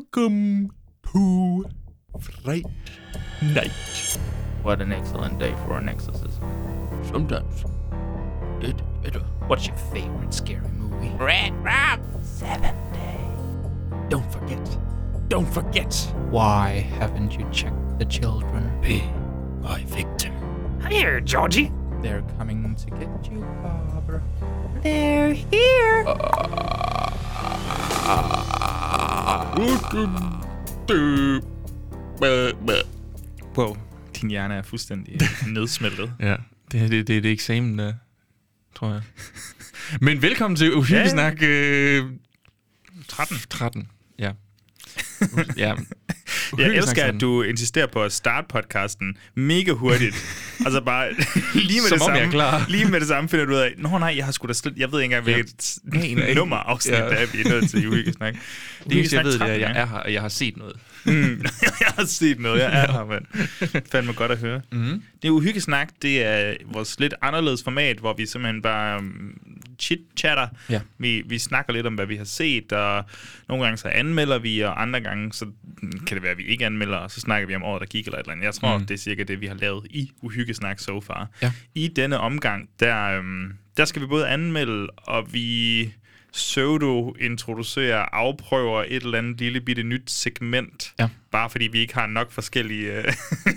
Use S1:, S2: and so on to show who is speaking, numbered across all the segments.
S1: Welcome to Fright Night.
S2: What an excellent day for an exorcism.
S1: Sometimes it it
S2: What's your favorite scary movie? Red Rob Seven Day.
S1: don't forget. Don't forget.
S2: Why haven't you checked the children?
S1: Be my victim.
S2: Here, Georgie. They're coming to get you, Barbara.
S3: They're here.
S1: Welcome to
S2: Wow, din hjerne er fuldstændig nedsmeltet.
S4: Ja, det, her, det, det, det er eksamen, der, tror jeg. Men velkommen til Uhyggesnak ja. øh,
S2: 13.
S4: 13. Ja. ja.
S5: Jeg
S4: Uhyggesnak
S5: elsker,
S4: 13.
S5: at du insisterer på at starte podcasten mega hurtigt. altså bare lige med det
S4: Som om
S5: samme.
S4: jeg er klar.
S5: Lige med det samme finder du ud af, nå nej, jeg har sgu da slet, jeg ved ikke engang, hvilket
S4: aner ikke.
S5: nummer afsnit
S4: Ja.
S5: ja. det er, vi er nødt til i Uhyggesnak.
S4: Det eneste, jeg ved, det er, at jeg
S5: jeg
S4: er her, og jeg har set noget.
S5: Mm, jeg har set noget, jeg er her, mand. Fandme godt at høre.
S4: Mm.
S5: Det er Uhyggesnak, det er vores lidt anderledes format, hvor vi simpelthen bare um, chit-chatter.
S4: Ja.
S5: Vi, vi snakker lidt om, hvad vi har set, og nogle gange så anmelder vi, og andre gange så mm, kan det være, at vi ikke anmelder, og så snakker vi om året, der gik eller et eller andet. Jeg tror,
S4: Mm.
S5: mm. det er cirka det, vi har lavet i Uhyggesnak so far.
S4: Ja.
S5: I denne omgang, der, um, der skal vi både anmelde, og vi pseudo-introducerer, afprøver et eller andet lille bitte nyt segment,
S4: Ja.
S5: bare fordi vi ikke har nok forskellige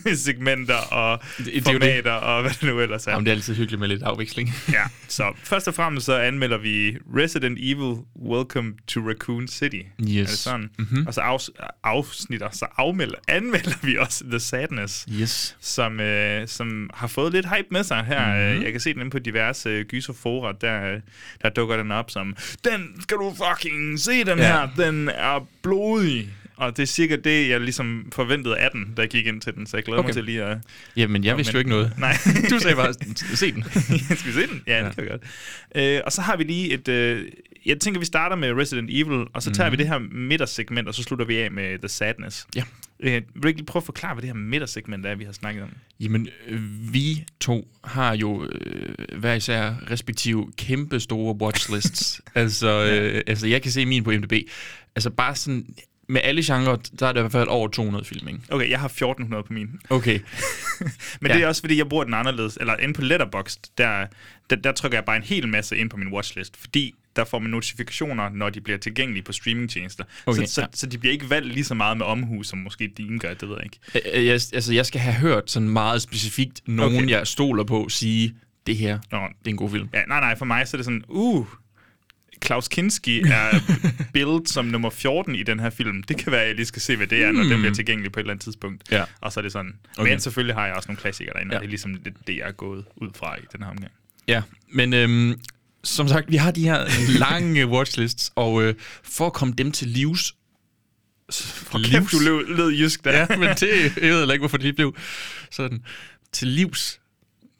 S5: øh, segmenter og det,
S4: det er jo det.
S5: det formater og hvad det nu ellers er.
S4: Jamen, det er altid hyggeligt med lidt afveksling.
S5: Ja, så først og fremmest så anmelder vi Resident Evil Welcome to Raccoon City. Er det
S4: Yes.
S5: sådan?
S4: Mhm.
S5: Og så afs- afsnitter, så afmelder, anmelder vi også The Sadness,
S4: Yes.
S5: som, øh, som har fået lidt hype med sig her.
S4: Mhm.
S5: Mm-hmm. Jeg kan se den inde på diverse øh, gyserfora, der, øh, der dukker den op som, den skal du fucking se den
S4: Ja.
S5: ja. her, den er blodig. Og det er cirka det, jeg ligesom forventede af den, da jeg gik ind til den, så jeg glæder okay.
S4: Okay.
S5: mig til lige at...
S4: Jamen, jeg vidste jo ikke noget.
S5: Nej.
S4: Du sagde bare, se den.
S5: Skal vi se den? Ja, ja.
S4: Ja.
S5: det kan vi godt. Øh, og så har vi lige et... Øh, jeg tænker, vi starter med Resident Evil, og så tager mm. vi det her midtersegment, og så slutter vi af med The Sadness.
S4: Ja.
S5: Øh, vil du ikke lige prøve at forklare, hvad det her midtersegment er, vi har snakket om?
S4: Jamen, øh, vi to har jo øh, hver især respektive kæmpe store watchlists. altså, øh, altså, jeg kan se min på MDB. Altså, bare sådan... Med alle genrer, der er der i hvert fald over 200 film, ikke?
S5: Okay, jeg har 1400 på min.
S4: Okay.
S5: Men
S4: Ja.
S5: ja. det er også, fordi jeg bruger den anderledes. Eller inde på Letterboxd, der, der, der trykker jeg bare en hel masse ind på min watchlist, fordi der får man notifikationer, når de bliver tilgængelige på streamingtjenester.
S4: Okay,
S5: så, så,
S4: ja.
S5: så de bliver ikke valgt lige så meget med omhu, som måske dine gør, det ved jeg ikke.
S4: Øh, øh, Jeg, altså, jeg skal have hørt sådan meget specifikt nogen, okay.
S5: Okay.
S4: jeg stoler på, sige, det her, det
S5: Nå,
S4: er en god film.
S5: Ja, nej, nej, for mig så er det sådan, uh, Klaus Kinski er billedet som nummer 14 i den her film. Det kan være, at jeg lige skal se, hvad det er, når den bliver tilgængelig på et eller andet tidspunkt.
S4: Hmm. Ja.
S5: Og så er det sådan.
S4: Okay.
S5: Okay. Men selvfølgelig har jeg også nogle klassikere derinde, ja.
S4: Ja.
S5: og det er ligesom lidt det, jeg er gået ud fra i den her omgang.
S4: Ja, men øhm, som sagt, vi har de her lange watchlists, og øh, for at komme dem til livs... For
S5: Kæft, du lød, lød jysk der.
S4: Ja, men det, jeg ved heller ikke, hvorfor det lige blev sådan. Til livs.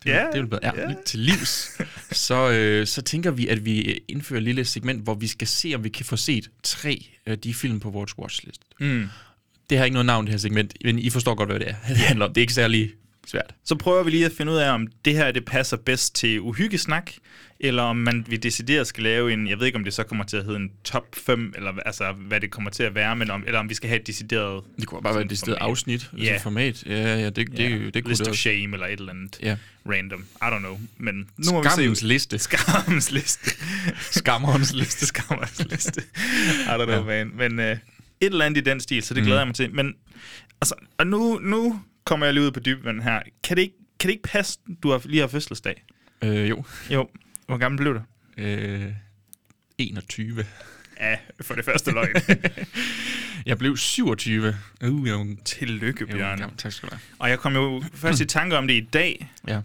S4: Det,
S5: Ja,
S4: det er jo bedre. Ja,
S5: ja.
S4: Til livs. Så, øh, så tænker vi, at vi øh, indfører et lille segment, hvor vi skal se, om vi kan få set tre af de film på vores watchlist.
S5: Mm.
S4: Det har ikke noget navn, det her segment, men I forstår godt, hvad det er. Det handler om. Det er ikke særlig svært.
S5: Så prøver vi lige at finde ud af, om det her det passer bedst til uhyggesnak, eller om man vi decideret skal lave en, jeg ved ikke om det så kommer til at hedde en top 5, eller hva- altså hvad det kommer til at være, men om, eller om vi skal have et decideret
S4: Det kunne bare være et decideret
S5: format.
S4: afsnit,
S5: Ja.
S4: altså format. Ja, ja, det, det,
S5: Ja,
S4: det, det kunne
S5: List
S4: det
S5: of
S4: også.
S5: shame eller et eller andet
S4: Ja.
S5: random. I don't know. Men nu må vi
S4: Skammens
S5: se.
S4: liste.
S5: Skammens liste.
S4: Skammerens liste.
S5: Skammens liste. I don't know, ja. man. Men øh, et eller andet i den stil, så det
S4: Mm.
S5: glæder jeg mig til. Men altså, og nu, nu kommer jeg lige ud på dybvandet her. Kan det ikke, kan det ikke passe, du har, lige har fødselsdag?
S4: Øh, jo.
S5: Jo. Hvor gammel blev du?
S4: Øh, 21.
S5: Ja, for det første løgn.
S4: Jeg blev 27. Uh, jeg var en
S5: Tillykke,
S4: jeg var en
S5: Bjørn.
S4: gammel. Tak skal du have.
S5: Og jeg kom jo først i tanke om det i dag.
S4: Ja.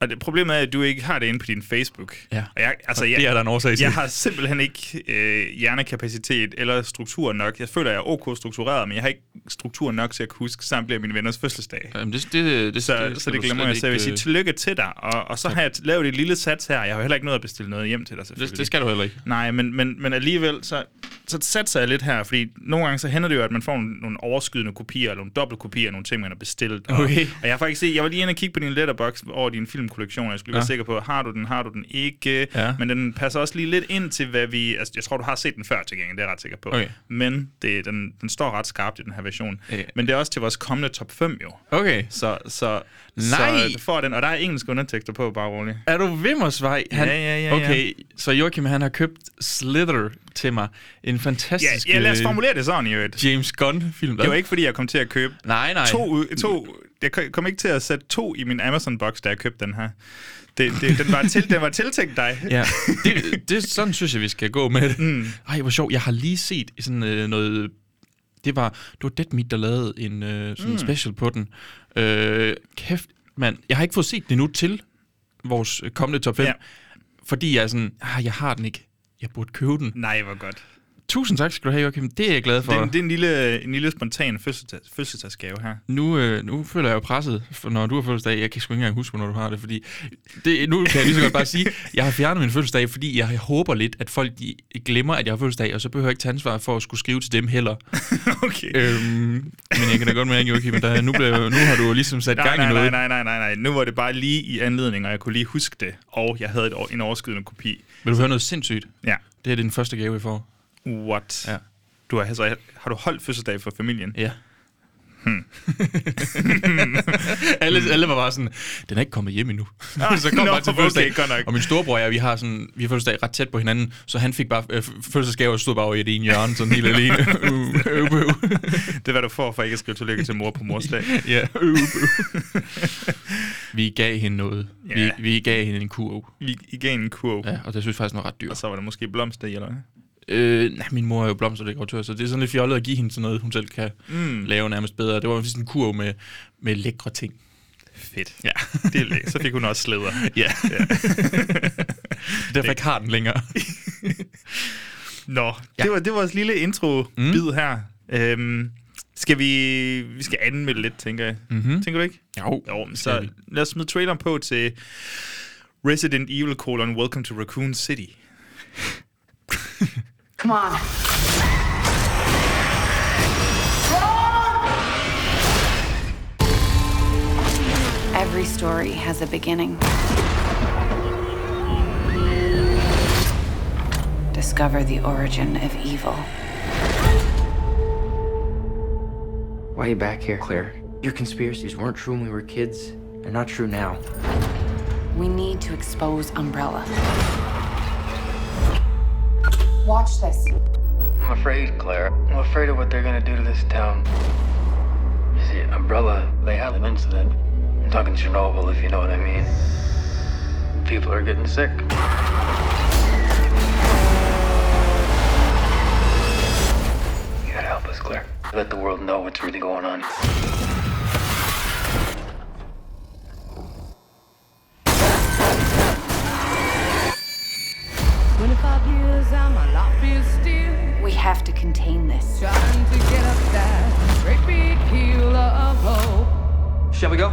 S5: Og det, problemet er, at du ikke har det inde på din Facebook.
S4: Ja.
S5: Og jeg, altså, jeg,
S4: Det er der en årsag til.
S5: Jeg har simpelthen ikke øh, hjernekapacitet eller struktur nok. Jeg føler, jeg er ok struktureret, men jeg har ikke struktur nok til at kunne huske samtlige af mine venners fødselsdag.
S4: Jamen, det, det, det,
S5: Så, så
S4: skal
S5: det
S4: du
S5: glemmer
S4: slet
S5: jeg, så jeg vil
S4: ikke,
S5: sige
S4: øh,
S5: tillykke til dig. Og, og så har jeg t- lavet et lille sats her. Jeg har jo heller ikke noget at bestille noget hjem til dig, selvfølgelig.
S4: øh, Det, det skal du heller ikke.
S5: Nej, men, men, men alligevel, så, så satser jeg lidt her, fordi nogle gange så hænder det jo, at man får nogle, nogle overskydende kopier, eller nogle dobbeltkopier af nogle ting, man har bestilt. Og,
S4: Okay.
S5: og jeg har faktisk set, jeg var lige inde og kigge på din letterbox over din filmkollektion, og jeg skulle lige
S4: Ja.
S5: være sikker på, har du den, har du den ikke?
S4: Ja.
S5: Men den passer også lige lidt ind til, hvad vi... Altså, jeg tror, du har set den før til gengæld, det er jeg ret sikker på.
S4: Okay. Øh.
S5: Men det, den, den står ret skarpt i den her version.
S4: Ja.
S5: Men det er også til vores kommende top 5, jo.
S4: Okay.
S5: Så, så,
S4: Nej!
S5: så du får den, og der er engelske undertekster på, bare roligt.
S4: Er du Vimmersvej? Han,
S5: Ja, ja, ja, ja.
S4: Okay, så Joachim han har købt Slither til mig. En
S5: Ja,
S4: fantastisk
S5: ja, lad os
S4: øh,
S5: formulere det sådan, i øvrigt.
S4: James Gunn-film.
S5: Det var ikke, fordi jeg kom til at købe
S4: Nej, nej.
S5: to, ud- to jeg kom- kom ikke til at sætte to i min Amazon-boks, da jeg købte den her. Det, det, den, var til, den var tiltænkt dig.
S4: Ja, det, det, sådan synes jeg, vi skal gå med det. Mm. Ej, hvor sjovt. Jeg har lige set sådan øh, noget... Det var, det var Dead Meat, der lavede en øh, sådan mm. special på den. Øh, kæft, mand. Jeg har ikke fået set den endnu til vores øh, kommende top 5.
S5: Ja.
S4: Ja. Fordi jeg er sådan, ah, jeg har den ikke. Jeg burde købe den.
S5: Nej, hvor godt.
S4: Tusind tak skal du have, Joachim. Det er jeg glad for.
S5: Det er, en, det er en, lille, en lille spontan fødselsdags, fødselsdagsgave her.
S4: Nu, øh, nu føler jeg jo presset, for når du har fødselsdag. Jeg kan sgu ikke engang huske, når du har det, fordi... Det, nu kan jeg lige så godt bare sige, jeg har fjernet min fødselsdag, fordi jeg håber lidt, at folk de glemmer, at jeg har fødselsdag, og så behøver jeg ikke tage ansvar for at skulle skrive til dem heller.
S5: Okay.
S4: øhm, men jeg kan da godt mærke, okay, men der, nu, blev, nu har du jo ligesom sat
S5: Nej,
S4: gang
S5: nej,
S4: i noget.
S5: nej, nej, nej, nej, nej. Nu var det bare lige i anledning, og jeg kunne lige huske det. Og jeg havde et, o- en overskydende kopi.
S4: Vil du høre noget sindssygt?
S5: Ja.
S4: Det her det er den første gave, vi får.
S5: What?
S4: Ja.
S5: Du har, altså, har du holdt fødselsdag for familien?
S4: Ja. Hmm. alle, alle var bare sådan, den er ikke kommet hjem endnu. Ah, så kom
S5: nå,
S4: bare til
S5: okay,
S4: fødselsdag.
S5: godt nok.
S4: Og min storebror og jeg, vi har, sådan, vi har fødselsdag ret tæt på hinanden, så han fik bare øh, fødselsdagsgave og stod bare over i det ene hjørne, sådan helt alene. Øv, øv, øv.
S5: Det er, hvad du får for ikke at skrive tillykke til mor på mors dag.
S4: ja, øv, øv. Vi gav hende noget.
S5: Ja.
S4: Vi, vi gav hende en kurv.
S5: I, I gav en kurv, ja.
S4: Ja, og det synes jeg faktisk den var ret
S5: og
S4: dyrt.
S5: så var det måske blomster i, eller hvad?
S4: Øh, nej, min mor er jo blomsterdekoratør, så det er sådan lidt fjollet at give hende sådan noget, hun selv kan mm. lave nærmest bedre. Det var sådan en kurv med, med lækre ting.
S5: Fedt. Ja, det er læ- Så fik hun også slæder.
S4: Ja. Derfor ikke har den længere.
S5: Nå, ja. det, var, det var vores lille intro-bid mm. her. Øhm, skal vi... Vi skal anmelde lidt, tænker jeg. Mm-hmm. Tænker du ikke?
S4: Mhm. Jo,
S5: Jo, men
S4: skal
S5: så
S4: vi.
S5: lad os smide traileren på til Resident Evil colon Welcome to Raccoon City.
S6: Come on.
S7: Every story has a beginning. Discover the origin of evil.
S6: Why are you back here, Claire? Your conspiracies weren't true when we were kids. They're not true now.
S7: We need to expose Umbrella.
S8: Watch this.
S9: I'm afraid, Claire. I'm afraid of what they're gonna do to this town. You see, Umbrella, they had an incident. I'm talking Chernobyl, if you know what I mean. People are getting sick. You gotta help us, Claire. Let the world know what's really going on.
S7: We have to contain this.
S9: Shall we go?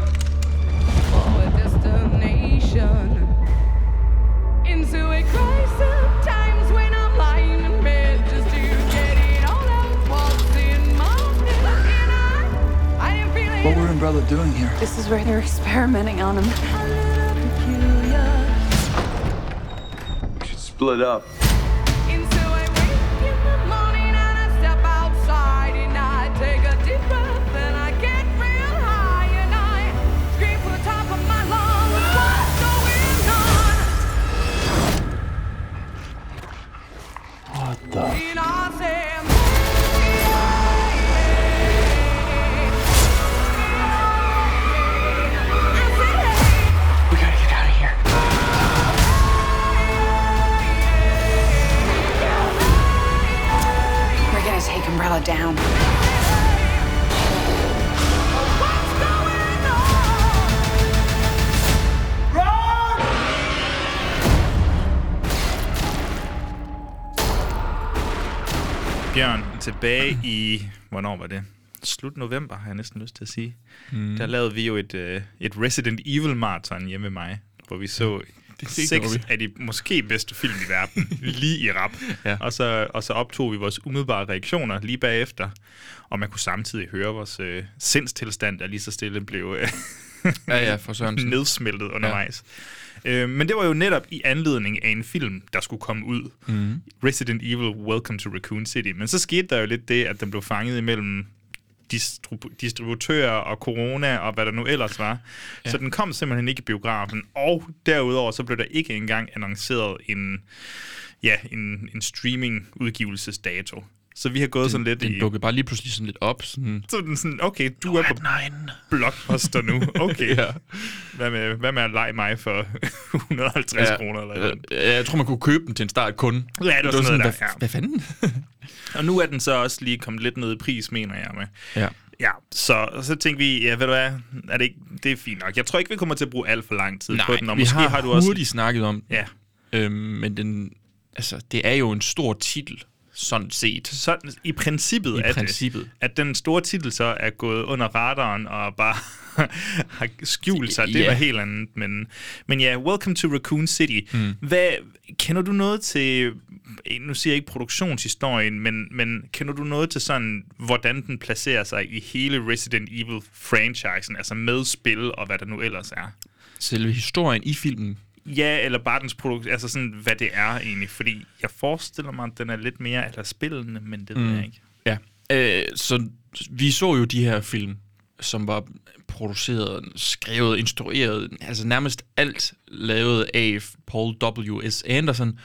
S8: Into a crisis of times when I'm lying in bed just to get it all out. What's in my head? And I, I am feeling
S9: What were Umbrella doing here?
S7: This is where they're experimenting on him.
S8: peculiar.
S9: We should split up.
S8: And so I wake in the morning and I step outside and I take a deep breath and I get real high and I scream from the top of my lungs, what's going on? What the? And I say,
S6: We gotta get out of here.
S7: We're gonna take Umbrella down.
S8: what's going on?
S5: Bjørn, tilbage i... Hvornår var det? slut november, har jeg næsten lyst til at sige, mm. der lavede vi jo et, øh, et Resident Evil marathon hjemme med mig, hvor vi så det
S4: det
S5: seks
S4: gjorde vi.
S5: af de måske bedste film i verden, lige i rap.
S4: Ja.
S5: Ja. Og, så, og så optog vi vores umiddelbare reaktioner lige bagefter, og man kunne samtidig høre vores øh, sindstilstand, der lige så stille blev... Øh,
S4: Ja, ja, for Sørensen.
S5: nedsmeltet undervejs. Ja. Øh, men det var jo netop i anledning af en film, der skulle komme ud. Mm. Resident Evil Welcome to Raccoon City. Men så skete der jo lidt det, at den blev fanget imellem distribu- distributører og corona og hvad der nu ellers var. Ja. Så den kom simpelthen ikke i biografen. Og derudover så blev der ikke engang annonceret en, ja, en, en streaming udgivelsesdato. Så vi har gået sådan lidt
S4: Den
S5: i...
S4: dukkede bare lige pludselig sådan lidt op. Sådan,
S5: Så er den sådan, okay, du er på
S4: nej.
S5: blockbuster nu. Okay.
S4: Ja.
S5: ja. hvad, med, hvad med at lege mig for 150 ja. kroner? Eller
S4: ja,
S5: noget?
S4: ja, jeg tror, man kunne købe den til en start kun. Ja, det
S5: sådan noget
S4: hvad,
S5: der, ja.
S4: hvad fanden?
S5: Og nu er den så også lige kommet lidt ned i pris, mener jeg med.
S4: ja.
S5: Ja, så, og så tænkte vi, ja, ved du hvad, er det, ikke, det er fint nok. Jeg tror ikke, vi kommer til at bruge alt for lang tid på den.
S4: Nej,
S5: Og
S4: vi
S5: måske
S4: har,
S5: har, du også...
S4: hurtigt snakket om den.
S5: Ja,
S4: Øhm, men den, altså, det er jo en stor titel, sådan set.
S5: sådan, i princippet
S4: I
S5: er
S4: princippet.
S5: det, at den store titel så er gået under radaren og bare har skjult sig. Det
S4: Ja.
S5: var helt andet, men, men ja, Welcome to Raccoon City.
S4: Hmm.
S5: Mm. Hvad, kender du noget til, eh, nu siger jeg ikke produktionshistorien, men, men kender du noget til sådan, hvordan den placerer sig i hele Resident Evil-franchisen, altså med spil og hvad der nu ellers er?
S4: Selve historien i filmen.
S5: Ja, eller bare dens produkt, altså sådan, hvad det er egentlig, fordi jeg forestiller mig, at den er lidt mere eller spillende, men det mm.
S4: Hmm.
S5: ved jeg ikke.
S4: Ja. Øh, så vi så jo de her film, som var produceret, skrevet, instrueret, altså nærmest alt lavet af Paul W.S. Anderson,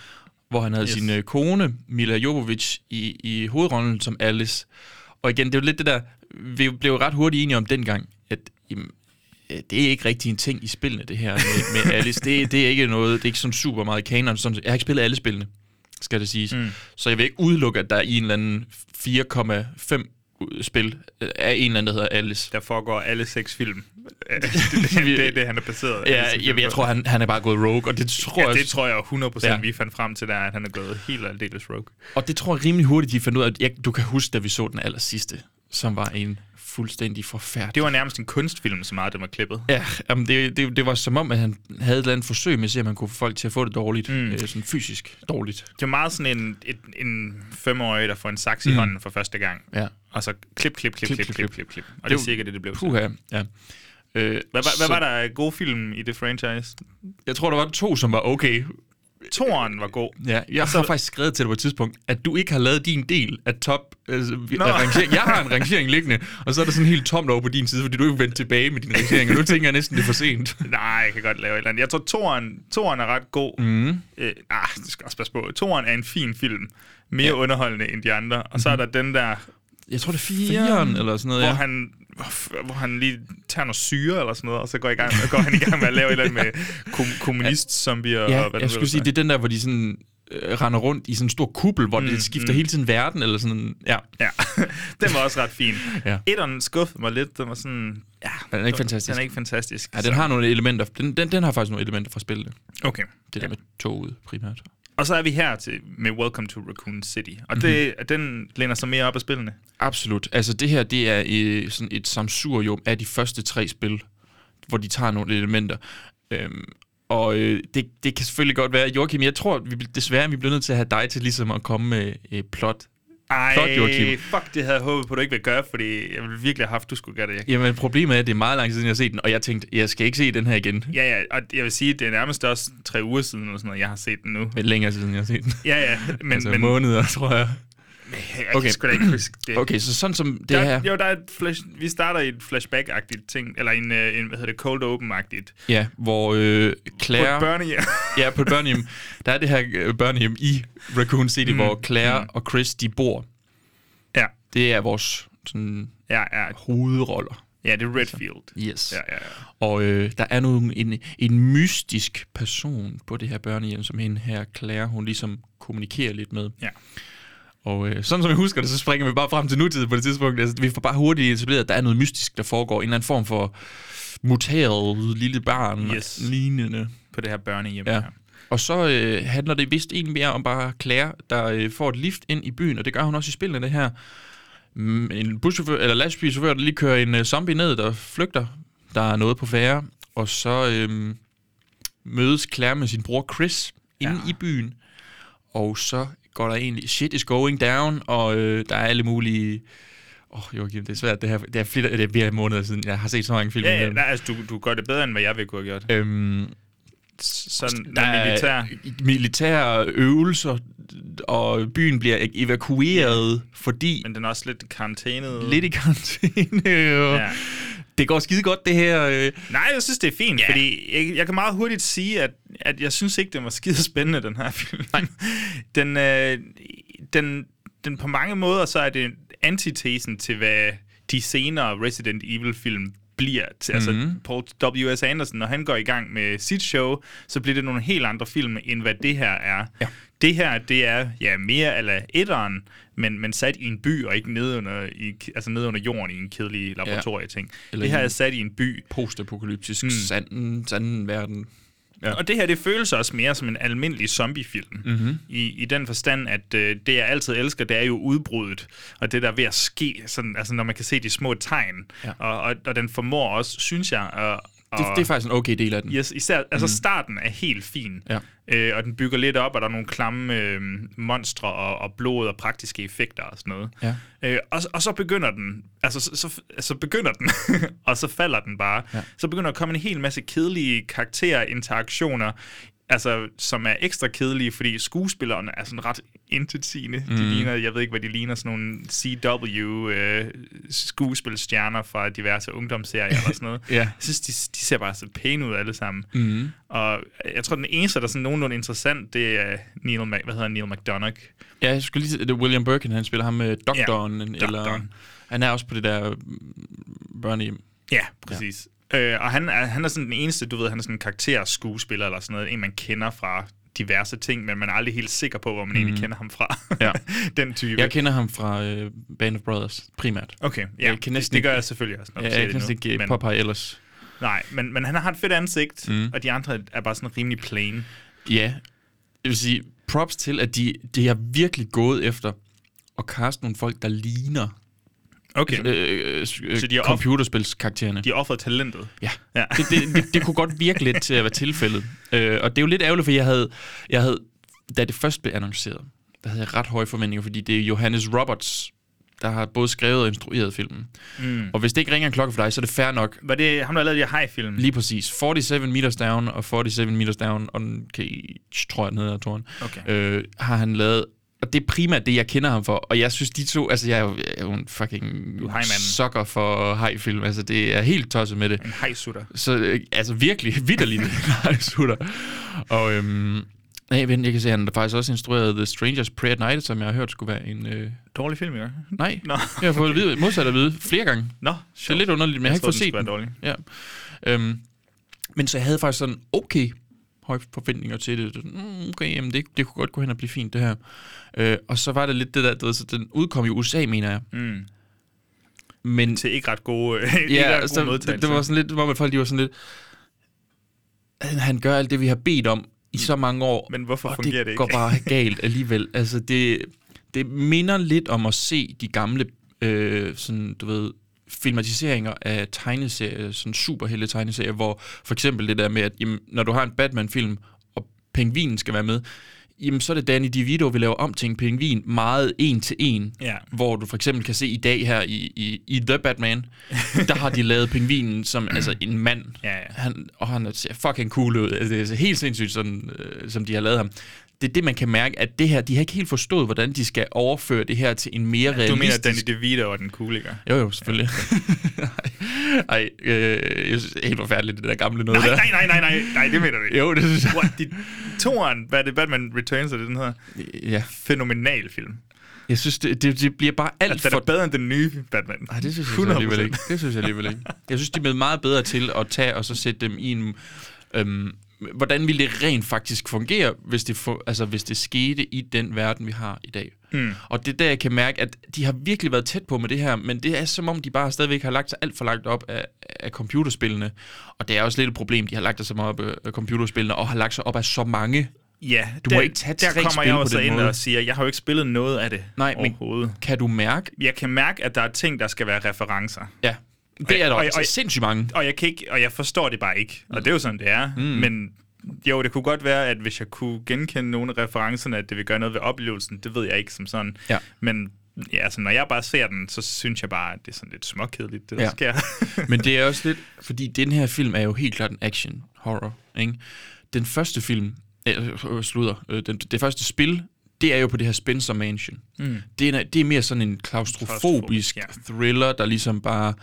S4: hvor han havde yes.
S5: Yes.
S4: sin øh, kone, Mila Jovovich, i, i hovedrollen som Alice. Og igen, det er jo lidt det der, vi blev jo ret hurtigt enige om dengang, at jamen, øh, det er ikke rigtig en ting i spillene, det her med, med Alice. Det, det er ikke noget, det er ikke sådan super meget kanon. Sådan, jeg har ikke spillet alle spillene, skal det siges. Mm. Så jeg vil ikke udelukke, at der i en eller anden 4,5 spil øh, er en eller anden, der hedder Alice.
S5: der foregår alle seks film. Øh, det, det, det, er det, han er baseret.
S4: Ja,
S5: alle seks
S4: jeg,
S5: film
S4: jeg
S5: på.
S4: tror, han, han er bare gået rogue, og det tror
S5: Ja,
S4: jeg...
S5: det tror jeg 100% ja.
S4: Ja.
S5: vi fandt frem til, der, at han er gået helt og aldeles rogue.
S4: Og det tror jeg rimelig hurtigt, de fandt ud af. Jeg, du kan huske, da vi så den aller sidste, som var en fuldstændig forfærdelig...
S5: Det var nærmest en kunstfilm, så meget den var klippet.
S4: Ja, jamen det, det, det var som om, at han havde et eller andet forsøg med at se, om han kunne få folk til at få det dårligt. Mm. Øh, sådan fysisk dårligt.
S5: Det var meget sådan en, et, en femårig, der får en saks i mm. hånden for første gang.
S4: Ja.
S5: Og så klip, klip, klip, klip, klip, klip, klip. klip. Og det, det
S4: Det var-
S5: er cirka det, det blev. til.
S4: Puha, ja. Øh,
S5: Hvad, hvad, hvad var der af gode film i det franchise?
S4: Jeg tror, der var to, som var okay.
S5: Toren var god.
S4: Ja, jeg har faktisk skrevet til dig på et tidspunkt, at du ikke har lavet din del af top... Altså, vi- af rangering. Jeg har en rangering liggende, og så er der sådan helt tomt over på din side, fordi du ikke vendt tilbage med din rangering, og nu tænker jeg næsten, det er for sent.
S5: Nej, jeg kan godt lave et eller andet. Jeg tror, toren, toren er ret god. Mm.
S4: Mhm.
S5: Øh, ah, det skal jeg også passe på. Toren er en fin film. Mere ja. underholdende end de andre. Og så er der den der
S4: Jeg tror, det er fireren eller sådan noget,
S5: hvor,
S4: Mhm. ja.
S5: han, hvor, f- hvor han lige tager noget syre eller sådan noget, og så går, i gang, går han i gang med at lave et eller andet med kom, kommunist-zombier. og
S4: Ja,
S5: hvad
S4: jeg
S5: nu
S4: skulle sige,
S5: ellers
S4: det er den der, hvor de sådan øh, render rundt i sådan en stor kuppel, hvor mm, det skifter hele tiden verden, eller sådan, ja.
S5: er. Ja, den var også ret fin.
S4: Ja.
S5: ja. Etteren skuffede mig lidt. Den var sådan... Ja,
S4: Den er ikke fantastisk.
S5: Den er ikke fantastisk.
S4: Ja, den har nogle elementer. Den, den, den har faktisk nogle elementer fra spillet.
S5: Okay.
S4: Det der med toget primært.
S5: Og så er vi her til, med Welcome to Raccoon City. Og
S4: Mhm.
S5: det, den læner sig mere op af spillene.
S4: Absolut. Altså det her, det er øh, sådan et samsurium af de første tre spil, hvor de tager nogle elementer. Øhm, og øh, det, det kan selvfølgelig godt være, Joachim, jeg tror vi, bl- desværre, vi bliver nødt til at have dig til ligesom at komme med øh, plot.
S5: Ej,
S4: Flot, Joachim.
S5: fuck, det havde jeg håbet på, at du ikke ville gøre, fordi jeg ville virkelig have haft, du skulle gøre det. Jeg
S4: Jamen problemet er, at det er meget lang tid siden, jeg har set den, og jeg tænkte, jeg skal ikke se den her igen.
S5: Ja, ja, og jeg vil sige, det er nærmest også tre uger siden, eller sådan noget, jeg har set den nu.
S4: Men længere siden, jeg har set den.
S5: Ja, ja, men,
S4: altså
S5: men
S4: måneder, tror jeg.
S5: jeg kan
S4: Okay.
S5: sgu da ikke huske det.
S4: Okay, så sådan som det
S5: der,
S4: her...
S5: Jo, der er et flash, vi starter i et flashback-agtigt ting, eller en, øh, en hvad hedder det, cold open-agtigt.
S4: Ja, hvor øh,
S5: På
S4: Claire...
S5: et børnehjem.
S4: Ja, på et børnehjem. Der er det her øh, børnehjem i Raccoon City, mm. hvor Claire mm. og Chris, de bor.
S5: ja,
S4: Det er vores sådan,
S5: ja, ja,
S4: hovedroller.
S5: ja, det er Redfield.
S4: Yes.
S5: Ja, ja, ja.
S4: Og øh, der er nogle, en, en mystisk person på det her børnehjem, som hende her, Claire, hun ligesom kommunikerer lidt med.
S5: Ja.
S4: Og øh, sådan som jeg husker det, så springer vi bare frem til nutid på det tidspunkt. Altså, vi får bare hurtigt etableret, at der er noget mystisk, der foregår. En eller anden form for muteret lille barn
S5: Yes.
S4: lignende.
S5: På det her børnehjem.
S4: Ja.
S5: Ja.
S4: Og så øh, handler det vist egentlig mere om bare Claire, der øh, får et lift ind i byen, og det gør hun også i spillene, det her. mm, en buschauffør, eller lastbilchauffør, der lige kører en øh, zombie ned, der flygter. Der er noget på færre. Og så øhm, mødes Claire med sin bror Chris inde i byen. Og så går der egentlig, shit is going down, og øh, der er alle mulige... Åh, oh, Joachim, det er svært. Det, her, det er flere, det er flere måneder siden. Jeg har set så mange film.
S5: Ja, ja, nej, altså, du, du gør det bedre, end hvad jeg ville kunne have gjort.
S4: Øhm,
S5: Sådan
S4: der
S5: der
S4: er
S5: militær.
S4: militære øvelser, og byen bliver evakueret, fordi
S5: Men den er også lidt karantænet.
S4: lidt i karantæne. Og
S5: Ja.
S4: Det går skide godt, det her. øh.
S5: Nej, jeg synes, det er fint, yeah. fordi jeg, jeg kan meget hurtigt sige, at, at jeg synes ikke, den var skide spændende, den her film. Nej. Den, øh, den, den på mange måder, så er det antitesen til, hvad de senere Resident Evil-film bliver. Til, mm-hmm. Altså, Paul W.S. Anderson, når han går i gang med sit show, så bliver det nogle helt andre film, end hvad det her er. Ja. Det her, det er ja, mere eller etteren, men, men sat i en by, og ikke nede under, i, altså nede under jorden i en kedelig laboratorieting. Ja.
S4: Eller
S5: Det her
S4: i-
S5: er sat i en by,
S4: Postapokalyptisk mm. sanden, sanden verden.
S5: Ja. Og det her, det føles også mere som en almindelig zombiefilm. Mm-hmm. I, I den forstand, at øh, det, jeg altid elsker, det er jo udbruddet. Og det, der er ved at ske, sådan, altså, når man kan se de små tegn. Ja. Og, og, og den formår også, synes jeg... Og,
S4: Det, det er faktisk en okay del af den.
S5: Yes, især, altså starten er helt fin,
S4: Mm. Ja.
S5: øh, og den bygger lidt op, og der er nogle klamme øh, monstre og, og blod og praktiske effekter og sådan noget.
S4: Ja.
S5: Øh, og, og så begynder den, altså så, så, så begynder den, og så falder den bare. Ja. Så begynder der at komme en hel masse kedelige karakterinteraktioner, altså som er ekstra kedelige, fordi skuespillerne er sådan ret intetsigende. Mm. De ligner, jeg ved ikke, hvad de ligner, sådan nogle CW øh, skuespilstjerner fra diverse ungdomsserier eller sådan noget.
S4: Ja.
S5: Jeg synes, de, de ser bare så pæne ud alle sammen. Mm. Og jeg tror, den eneste, der er sådan nogenlunde interessant, det er Neil, Mac- hvad hedder han? Neil McDonough.
S4: Ja, jeg skulle lige sige, det er William Birkin, han spiller ham med doktoren, ja, eller
S5: doktoren.
S4: han er også på det der mm, børnehjem.
S5: Ja, præcis. Ja. Øh, og han er, han er sådan den eneste, du ved, han er sådan en karakterskuespiller eller sådan noget, en man kender fra diverse ting, men man er aldrig helt sikker på, hvor man mm. egentlig kender ham fra.
S4: Ja.
S5: den type.
S4: Jeg kender ham fra øh, Band of Brothers, primært.
S5: Okay, ja,
S4: Jeg kan
S5: det,
S4: næsten
S5: det gør
S4: ikke-
S5: jeg selvfølgelig også, når du
S4: Ja,
S5: siger
S4: jeg
S5: det
S4: kan næsten
S5: nu,
S4: ikke øh,
S5: men-
S4: men... påpege ellers.
S5: Nej, men, men han har et fedt ansigt, mm. og de andre er bare sådan rimelig plain.
S4: Ja, jeg vil sige, props til, at de, de har virkelig gået efter at kaste nogle folk, der ligner
S5: Okay,
S4: øh, øh, øh,
S5: Så de har op-
S4: computerspilskaraktererne.
S5: Altså, de har offret talentet.
S4: Ja,
S5: Ja.
S4: ja. Det, det, det, det kunne godt virke lidt til at være tilfældet. Øh, og det er jo lidt ærgerligt, for jeg havde, jeg havde, da det først blev annonceret, der havde jeg ret høje forventninger, fordi det er Johannes Roberts, der har både skrevet og instrueret filmen. Mm. Og hvis det ikke ringer en klokke for dig, så er det fair nok.
S5: Var det ham, der lavede de her film
S4: Lige præcis. 47 meters down og 47 meters down on cage, tror jeg, den hedder, Toren.
S5: Okay.
S4: Øh, har han lavet og det er primært det, jeg kender ham for. Og jeg synes, de to... Altså, jeg er jo, jeg er jo en fucking
S5: er hajmanden.
S4: sucker for hajfilm. Altså, det er helt tosset med det.
S5: En hejsutter.
S4: Så øh, altså virkelig vidderligt sutter. Og øhm, nej, vent, jeg kan se, at han der faktisk også instruerede The Strangers Pray at Night, som jeg har hørt skulle være en... Øh,
S5: Dårlig film, ikke?
S4: nej,
S5: Nå.
S4: Nå. jeg har fået at vide, modsat at vide flere gange.
S5: Nå,
S4: Det er lidt underligt, men jeg, jeg har ikke fået set
S5: den.
S4: den.
S5: Dårlig.
S4: Ja. Øhm, men så jeg havde faktisk sådan, okay, høje forventninger til det. Mm, Okay, jamen det, det kunne godt gå hen og blive fint, det her. Øh, og så var det lidt det der, du ved, så den udkom i USA, mener jeg.
S5: Mm.
S4: Men
S5: Til ikke ret gode, ja, ikke ret
S4: Ja,
S5: gode
S4: så
S5: modtagelser.
S4: det, det var sådan lidt, hvor man folk de var sådan lidt, "Han- han gør alt det, vi har bedt om i så mange år.
S5: Mm. Men hvorfor
S4: og
S5: fungerer det
S4: det
S5: ikke?"
S4: går bare galt alligevel. Altså, det, det minder lidt om at se de gamle, øh, sådan, du ved, filmatiseringer af tegneserier, sådan superhelte tegneserier, hvor for eksempel det der med, at jamen, når du har en Batman-film, og pingvinen skal være med, jamen så er det Danny DeVito, vi laver om til en pingvin, meget en til en,
S5: Ja.
S4: hvor du for eksempel kan se i dag her i, i, i The Batman, der har de lavet pingvinen som altså en mand.
S5: Ja, ja.
S4: Han, og han ser fucking cool ud. Altså, det er helt sindssygt, sådan, øh, som de har lavet ham. Det er det, man kan mærke, at det her, de har ikke helt forstået, hvordan de skal overføre det her til en mere realistisk...
S5: Du mener, at Danny DeVito var den cool, ikke?
S4: Jo, jo, selvfølgelig. Ej, øh, jeg synes, det er helt forfærdeligt, det der gamle noget
S5: Nej,
S4: der.
S5: nej, nej, nej, nej, nej, det mener du ikke.
S4: Jo, det synes jeg.
S5: What, de, toren, hvad er det, Batman Returns, er det den hedder?
S4: Ja.
S5: Fænomenal film.
S4: Jeg synes, det, det, det bliver bare alt
S5: Altså, den
S4: for...
S5: er bedre end den nye Batman.
S4: Nej, det synes jeg så alligevel ikke. Det synes jeg alligevel ikke. Jeg synes, de er blevet meget bedre til at tage og så sætte dem i en... Øhm, hvordan ville det rent faktisk fungere, hvis det, for, altså, hvis det skete i den verden, vi har i dag?
S5: Hmm.
S4: Mm. Og det er der, jeg kan mærke, at de har virkelig været tæt på med det her, men det er som om, de bare stadigvæk har lagt sig alt for langt op af, af computerspillene. Og det er også lidt et problem, de har lagt sig så meget op af computerspillene, og har lagt sig op af så mange
S5: Ja,
S4: Du
S5: der,
S4: må ikke tage
S5: der
S4: tre
S5: kommer
S4: spil
S5: jeg
S4: på
S5: også
S4: den
S5: ind
S4: måde.
S5: og siger, jeg har jo ikke spillet noget af det
S4: Nej, men-
S5: overhovedet. Men...
S4: Kan du mærke?
S5: Jeg kan mærke, at der er ting, der skal være referencer.
S4: Ja, det er der
S5: og-
S4: også
S5: og-
S4: sindssygt mange.
S5: Og jeg, kan ikke, og jeg forstår det bare ikke. Og det er jo sådan, det er. Mm. Men jo, det kunne godt være, at hvis jeg kunne genkende nogle af referencerne, at det ville gøre noget ved oplevelsen. Det ved jeg ikke som sådan.
S4: Ja.
S5: Men ja, altså, når jeg bare ser den, så synes jeg bare, at det er sådan lidt småkedeligt, det der
S4: Ja.
S5: ja. sker.
S4: Men det er også lidt, fordi den her film er jo helt klart en action horror, ikke? Den første film, øh, øh, slutter, øh, den, det første spil, det er jo på det her Spencer Mansion. Mm. Det, er, en- det er mere sådan en klaustrofobisk
S5: Klaustrofobisk,
S4: ja.
S5: ja.
S4: thriller, der ligesom bare...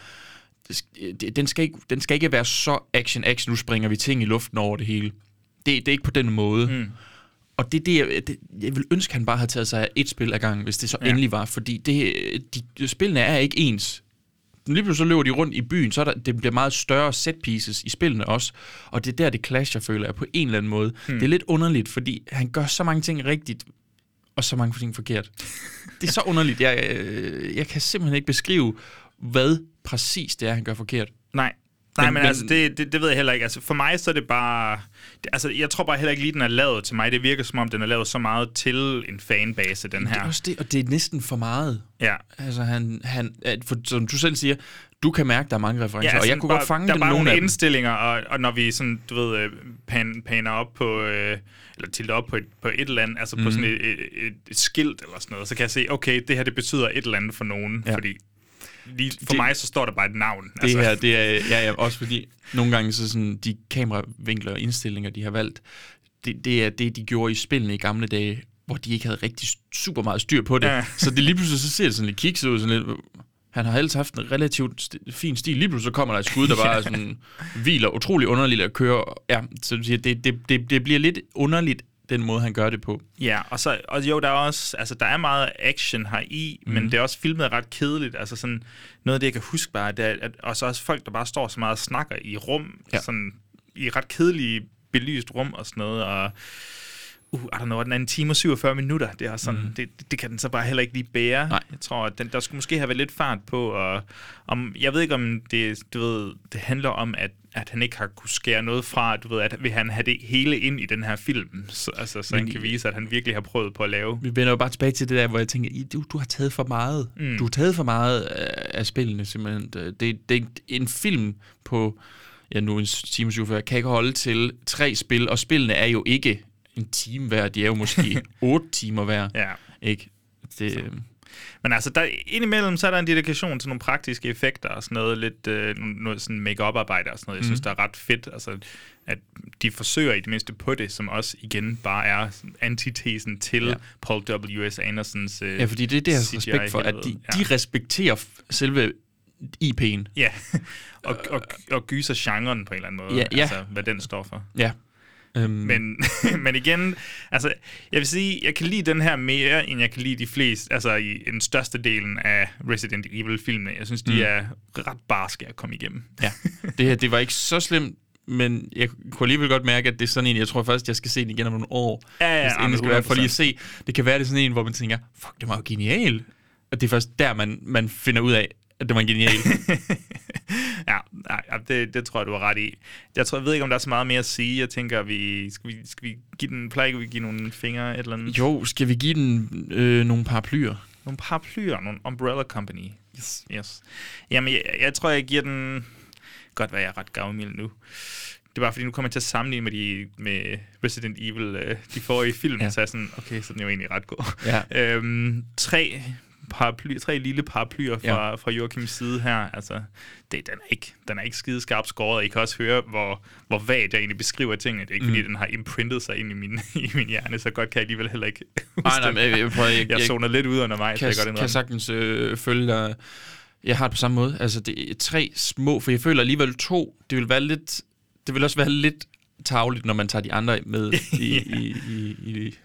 S4: det sk- det- Den skal, ikke, den skal ikke være så action-action, nu springer vi ting i luften over det hele. Det, det er ikke på den måde. Mm. Og det er det, jeg, det, jeg vil ønske, han bare havde taget sig af et spil ad gangen, hvis det så ja. endelig var. Fordi det, de, spillene er ikke ens. Lige pludselig så løber de rundt i byen, så er der, det bliver meget større set pieces i spillene også. Og det er der, det clasher, føler jeg, på en eller anden måde. Hmm. Det er lidt underligt, fordi han gør så mange ting rigtigt, og så mange ting forkert. Det er så underligt. Jeg, øh, jeg kan simpelthen ikke beskrive, hvad præcis det er, han gør forkert.
S5: Nej. Nej, men,
S4: Men- men-
S5: men altså, det, det, det ved jeg heller ikke. Altså, for mig så er det bare... Det, altså, jeg tror bare heller ikke lige, den er lavet til mig. Det virker som om, den er lavet så meget til en fanbase, den
S4: Det er
S5: her.
S4: også det, og det er næsten for meget.
S5: Ja.
S4: Altså, han, han, at for, som du selv siger, du kan mærke, der er mange referencer, ja, og
S5: sådan
S4: jeg kunne
S5: bare,
S4: godt fange
S5: der
S4: dem
S5: er bare
S4: nogle
S5: nogle
S4: af dem.
S5: indstillinger, og, og når vi sådan, du ved, øh, pan, paner op på, øh, eller tilter op på et, på et eller andet, altså mm. på
S4: Mhm.
S5: sådan et, et, et, et skilt eller sådan noget, så kan jeg se, okay, det her det betyder et eller andet for nogen,
S4: Ja.
S5: ja. fordi lige for
S4: Det-
S5: det, mig så står der bare et navn. Altså, Det
S4: Det her, det er, ja, ja, også fordi nogle gange så sådan, de kameravinkler og indstillinger, de har valgt, det, det er det, de gjorde i spillene i gamle dage, hvor de ikke havde rigtig super meget styr på det. Ja.
S5: Ja.
S4: Så det lige pludselig, så ser det sådan lidt kikset ud, sådan lidt, han har ellers haft en relativt st- fin stil. Lige pludselig så kommer der et skud, der bare er sådan, hviler utrolig underligt at køre. Ja, så du siger, det, det, det, det bliver lidt underligt, den måde, han gør det på.
S5: Ja, og, så, og jo, der er også, altså, der er meget action her i, mm. men det er også filmet ret kedeligt. Altså sådan, noget af det, jeg kan huske bare, det er, at, og så også folk, der bare står så meget og snakker i rum,
S4: Ja.
S5: ja. sådan, i ret kedelige belyst rum og sådan noget, og uh, I don't know, den anden time og 47 minutter, det er også sådan, mm. det, det, kan den så bare heller ikke lige bære.
S4: Nej.
S5: Jeg tror, at den, der skulle måske have været lidt fart på, og om, jeg ved ikke, om det, du ved, det handler om, at, at han ikke har kunne skære noget fra, du ved, at vil han have det hele ind i den her film, så, altså, så
S4: Men
S5: han kan
S4: i-
S5: vise, at han virkelig har prøvet på at lave.
S4: vi vender jo bare tilbage til det der, hvor jeg tænker, "I- du, du har taget for meget. Mm. Du har taget for meget øh, af, af spillene, simpelthen. Det, det, det er en film på, ja nu en s- time 47, kan ikke holde til tre spil, og spillene er jo ikke en time hver, de er jo måske otte timer hver.
S5: Ja.
S4: Ikke? Det, øh,
S5: Men altså, der, indimellem så er der en dedikation til nogle praktiske effekter og sådan noget, lidt øh, nogle- noget sådan make-up arbejde og sådan noget. Jeg
S4: Mhm.
S5: synes, mm. der er ret fedt, altså, at de forsøger i det mindste på det, som også igen bare er sådan antitesen til
S4: Ja.
S5: ja. Paul W.S. Andersons øh,
S4: ja, fordi det er deres
S5: CGI
S4: respekt for, at de,
S5: helvede.
S4: de respekterer f- selve IP'en.
S5: Ja, og, og, og gyser genren på en eller anden måde,
S4: Ja, ja.
S5: altså hvad den står for.
S4: Ja. Øhm,
S5: Men, men igen, altså, jeg vil sige, jeg kan lide den her mere, end jeg kan lide de fleste, altså i den største delen af Resident Evil-filmene. Jeg synes, de mm. er ret barske at komme igennem.
S4: Ja, det her, det var ikke så slemt, men jeg kunne alligevel godt mærke, at det er sådan en, jeg tror først, jeg skal se den igen om nogle år.
S5: Ja, ja,
S4: hvis
S5: ja,
S4: inden
S5: men
S4: det skal være, for lige at se. Det kan være, det er sådan en, hvor man tænker, fuck, det var jo genial. Og det er først der, man, man finder ud af, at det var genial.
S5: Ja, nej, ja, det, det tror jeg, du har ret i. Jeg, tror, jeg ved ikke, om der er så meget mere at sige. Jeg tænker, vi, skal, vi, skal vi give den, plejer ikke vi at give nogle fingre et eller andet?
S4: jo, skal vi give den øh, nogle paraplyer?
S5: Nogle paraplyer, nogle Umbrella Company. Yes. yes. Jamen, jeg, jeg tror, jeg giver den... Godt være, jeg er ret gavmild nu. Det er bare fordi, nu kommer jeg til at sammenligne med, de, med Resident Evil, øh, de forrige film,
S4: Ja.
S5: ja. så er jeg sådan, okay, så den er jo egentlig ret god.
S4: Ja.
S5: Øhm, tre, paraply, tre lille paraplyer fra, ja. fra Joachims side her, altså, det, den, er ikke, den er ikke skide skarpt skåret, og I kan også høre, hvor, hvor vagt jeg egentlig beskriver tingene. Det er ikke, mm. fordi den har imprintet sig ind i min, i min hjerne, så godt kan jeg alligevel heller ikke huske
S4: nej,
S5: det.
S4: men jeg- jeg prøver- jeg-
S5: jeg
S4: jeg-
S5: zoner lidt ud undervejs,
S4: kan,
S5: jeg, jeg,
S4: kan sagtens øh, følge dig. Jeg har det på samme måde. Altså, det er tre små, for jeg føler alligevel to. Det vil være lidt... Det vil også være lidt tavligt, når man tager de andre med i, ja. i, i, i,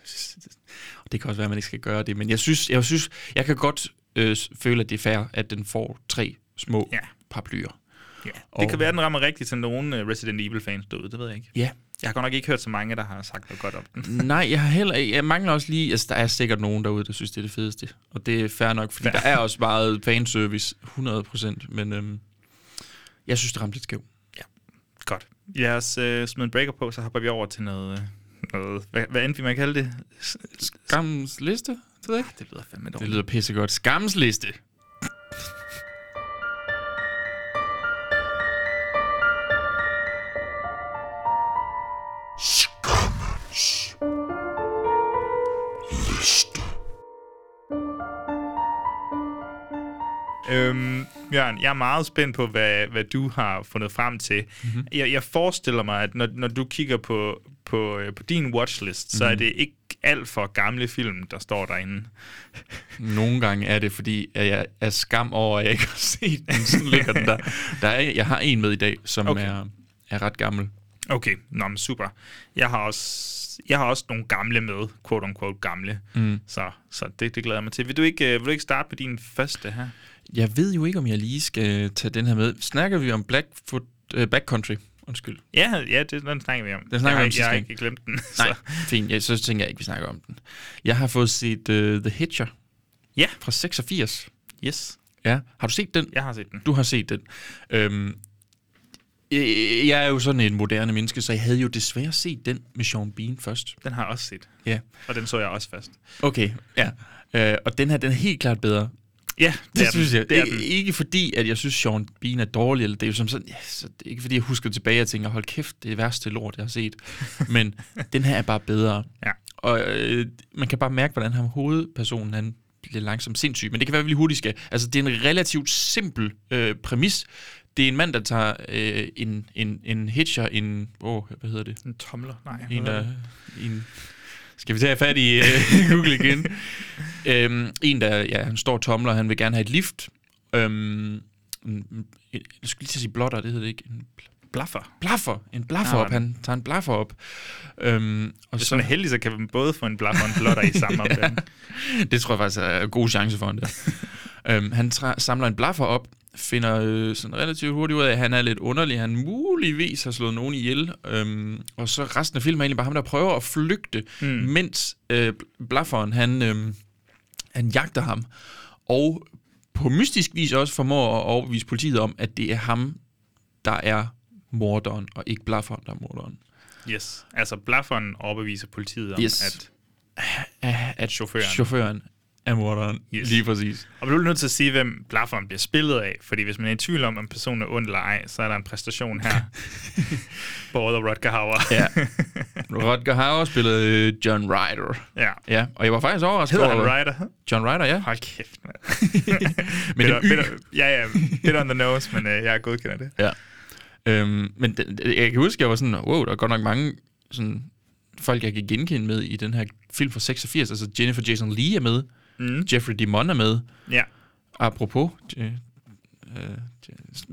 S4: og det kan også være, at man ikke skal gøre det, men jeg synes, jeg, synes, jeg kan godt øh, føle, at det er fair, at den får tre små ja.
S5: Ja.
S4: paraplyer.
S5: Ja,
S4: Og-
S5: det kan være, den rammer rigtigt til nogen øh, Resident Evil-fans derude, det ved jeg ikke.
S4: Ja,
S5: Jeg har godt nok ikke hørt så mange, der har sagt noget godt om den.
S4: Nej, jeg har heller ikke. Jeg mangler også lige... Altså, der er sikkert nogen derude, der synes, det er det fedeste. Og det er fair nok, fordi der er også meget fanservice, 100%. Men øhm, jeg synes, det ramte lidt skævt.
S5: Godt. Lad os øh, smide en breaker på, så hopper vi over til noget, øh, noget. Hvad, hvad endte vi med at kalde det? S-
S4: Skammens liste? Det ved jeg ikke.
S5: Det lyder fandme dårligt.
S4: Det lyder pissegodt. Skammens liste.
S5: Øhm, Jørgen, jeg er meget spændt på, hvad, hvad du har fundet frem til.
S4: Mhm.
S5: Mm-hmm. Jeg, jeg forestiller mig, at når, når du kigger på, på, øh, på din watchlist, mm-hmm. så
S4: Mhm.
S5: er det ikke alt for gamle film, der står derinde.
S4: Nogle gange er det, fordi at jeg er skam over, at jeg ikke har set den. Sådan ligger den der. der er, jeg har en med i dag, som
S5: Okay.
S4: okay. er, er ret gammel.
S5: Okay, nå, men super. Jeg har også, jeg har også nogle gamle med, quote unquote gamle. Mm. Så, så det, det glæder jeg mig til. Vil du, ikke, øh, vil du ikke starte på din første her?
S4: Jeg ved jo ikke, om jeg lige skal tage den her med. Snakker vi om Blackfoot, øh, Backcountry? Undskyld.
S5: Ja, ja det, den snakker vi om.
S4: Den snakker vi om
S5: jeg,
S4: sidste
S5: jeg har
S4: gang.
S5: ikke glemt den.
S4: Nej,
S5: Så.
S4: fint. Jeg, så tænker jeg ikke, vi snakker om den. Jeg har fået set uh, The Hitcher
S5: Ja,
S4: fra 86.
S5: yes.
S4: Ja. Har du set den?
S5: Jeg har set den.
S4: Du har set den. Øhm, øh, jeg er jo sådan en moderne menneske, så jeg havde jo desværre set den med Sean Bean først.
S5: Den har jeg også set.
S4: Ja.
S5: Og den så jeg også først.
S4: Okay, ja. Øh, og den her, den er helt klart bedre.
S5: Ja,
S4: Det, det synes jeg.
S5: Det er
S4: Ik-
S5: den.
S4: ikke fordi, at jeg synes, Sean Bean er dårlig, eller det er jo som sådan, ja, så det er ikke fordi, jeg husker tilbage og tænker, hold kæft, det er det værste lort, jeg har set. Men den her er bare bedre.
S5: Ja.
S4: Og øh, man kan bare mærke, hvordan ham hovedpersonen, han bliver langsomt sindssyg. Men det kan være, at vi lige hurtigt skal. Altså, det er en relativt simpel øh, præmis. Det er en mand, der tager øh, en, en, en hitcher, en... Åh, oh, hvad hedder det?
S5: En tomler? Nej.
S4: En, øh,
S5: hvad er
S4: der,
S5: det?
S4: en, skal vi tage fat i øh, Google igen? øhm, en, der ja, han står og tomler, han vil gerne have et lift. Øhm, en, en, jeg skulle lige til at sige blotter, det hedder det ikke. En bl-
S5: Blaffer.
S4: blaffer, en blaffer
S5: Ah,
S4: op, han tager en blaffer op. Øhm, og
S5: Hvis man er
S4: så,
S5: heldig, så kan man både få en blaffer og en blotter i samme opgang.
S4: det tror jeg faktisk er gode chance for ham der. øhm, han tra- samler en blaffer op, finder øh, sådan relativt hurtigt ud af, at han er lidt underlig, han muligvis har slået nogen ihjel, øhm, og så resten af filmen er egentlig bare ham, der prøver at flygte, mm. mens øh, blafferen, han, øh, han jagter ham, og på mystisk vis også formår at overbevise politiet om, at det er ham, der er morderen, og ikke blafferen, der er morderen.
S5: Yes. Altså, blafferen overbeviser politiet om,
S4: Yes.
S5: at...
S4: At
S5: Chaufføren.
S4: chaufføren er morderen,
S5: Yes.
S4: yes. lige præcis.
S5: Og du er nødt til at sige, hvem blafferen bliver spillet af, fordi hvis man er i tvivl om, om personen er ond eller ej, så er der en præstation her. Både af Rutger Hauer.
S4: Ja. Rodger har også spillet øh, John Ryder.
S5: ja.
S4: Ja, og jeg var faktisk overrasket
S5: Hedder han
S4: over-
S5: Ryder?
S4: John Ryder, ja.
S5: Hold kæft, mand.
S4: Men
S5: bitter,
S4: det er
S5: bitter, ja, ja. Bit on the nose, men øh, jeg er godkender det.
S4: Ja. Øhm, men den, den- jeg kan huske, jeg var sådan, wow, der er godt nok mange sådan, folk, jeg kan genkende med i den her film fra 86. Altså Jennifer Jason Leigh er med, mm. Jeffrey Dimon er med.
S5: Ja.
S4: Apropos, øh, øh,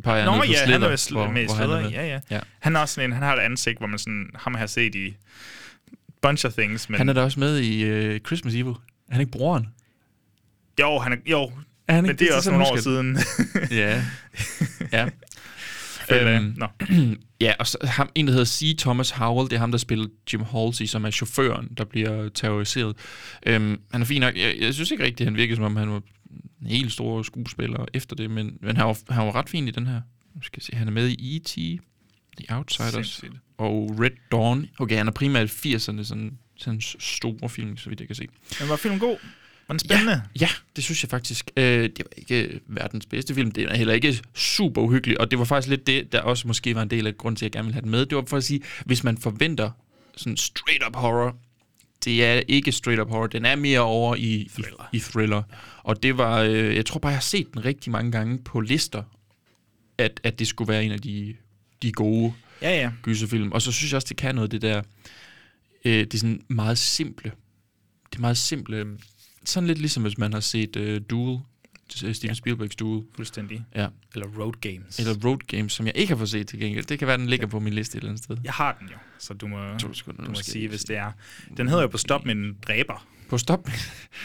S4: peger
S5: Nå,
S4: ned på
S5: ja, han
S4: Slither,
S5: er med, sl- med i
S4: han er
S5: Slither,
S4: med.
S5: ja, ja.
S4: ja.
S5: Han er også sådan en, han har et ansigt, hvor man sådan, ham har jeg set i bunch of things, men
S4: Han er da også med i øh, Christmas Evil. Er han ikke broren?
S5: jo, han er, jo,
S4: Er han
S5: men
S4: ikke-
S5: det er
S4: det er
S5: også
S4: sådan,
S5: nogle
S4: jeg
S5: år
S4: husker
S5: siden.
S4: Ja. ja.
S5: Føler jeg.
S4: Øhm,
S5: Nå.
S4: Ja, og så ham, en, der hedder C. Thomas Howell, det er ham, der spiller Jim Halsey, som er chaufføren, der bliver terroriseret. Øhm, han er fin nok. Jeg, jeg synes ikke rigtigt, han virkede, som om han var en helt stor skuespiller efter det, men, men han, var, han var ret fin i den her. Nu skal jeg se, han er med i E.T., The Outsiders
S5: Sindssygt.
S4: og Red Dawn. Okay, han er primært 80'erne, sådan, sådan s- store film, så vidt jeg kan se.
S5: Men var filmen god? Var den spændende? Ja.
S4: Ja, det synes jeg faktisk. Øh, det var ikke verdens bedste film. Det er heller ikke super uhyggelig, og det var faktisk lidt det, der også måske var en del af grunden til, at jeg gerne ville have den med. Det var for at sige, hvis man forventer sådan straight up horror, det er ikke straight up horror, den er mere over i thriller. I, i thriller. Og det var, øh, jeg tror bare, jeg har set den rigtig mange gange på lister, at, at det skulle være en af de, de gode
S5: Ja, ja.
S4: gyserfilm. Og så synes jeg også, det kan noget, det der... Øh, det er sådan meget simple. Det er meget simple. øhm, Sådan lidt ligesom, hvis man har set øh, Duel. øh, Steven Spielbergs Duel.
S5: Fuldstændig.
S4: Ja.
S5: Eller Road Games.
S4: Eller Road Games, som jeg ikke har fået set til gengæld. Det kan være, den ligger på min liste et eller andet sted.
S5: Jeg har den jo, så du må,
S4: To sekunder,
S5: du
S4: nu
S5: må
S4: skal jeg
S5: sige,
S4: lige
S5: hvis
S4: se.
S5: det er. Den hedder jo på Stop med en dræber.
S4: På stop.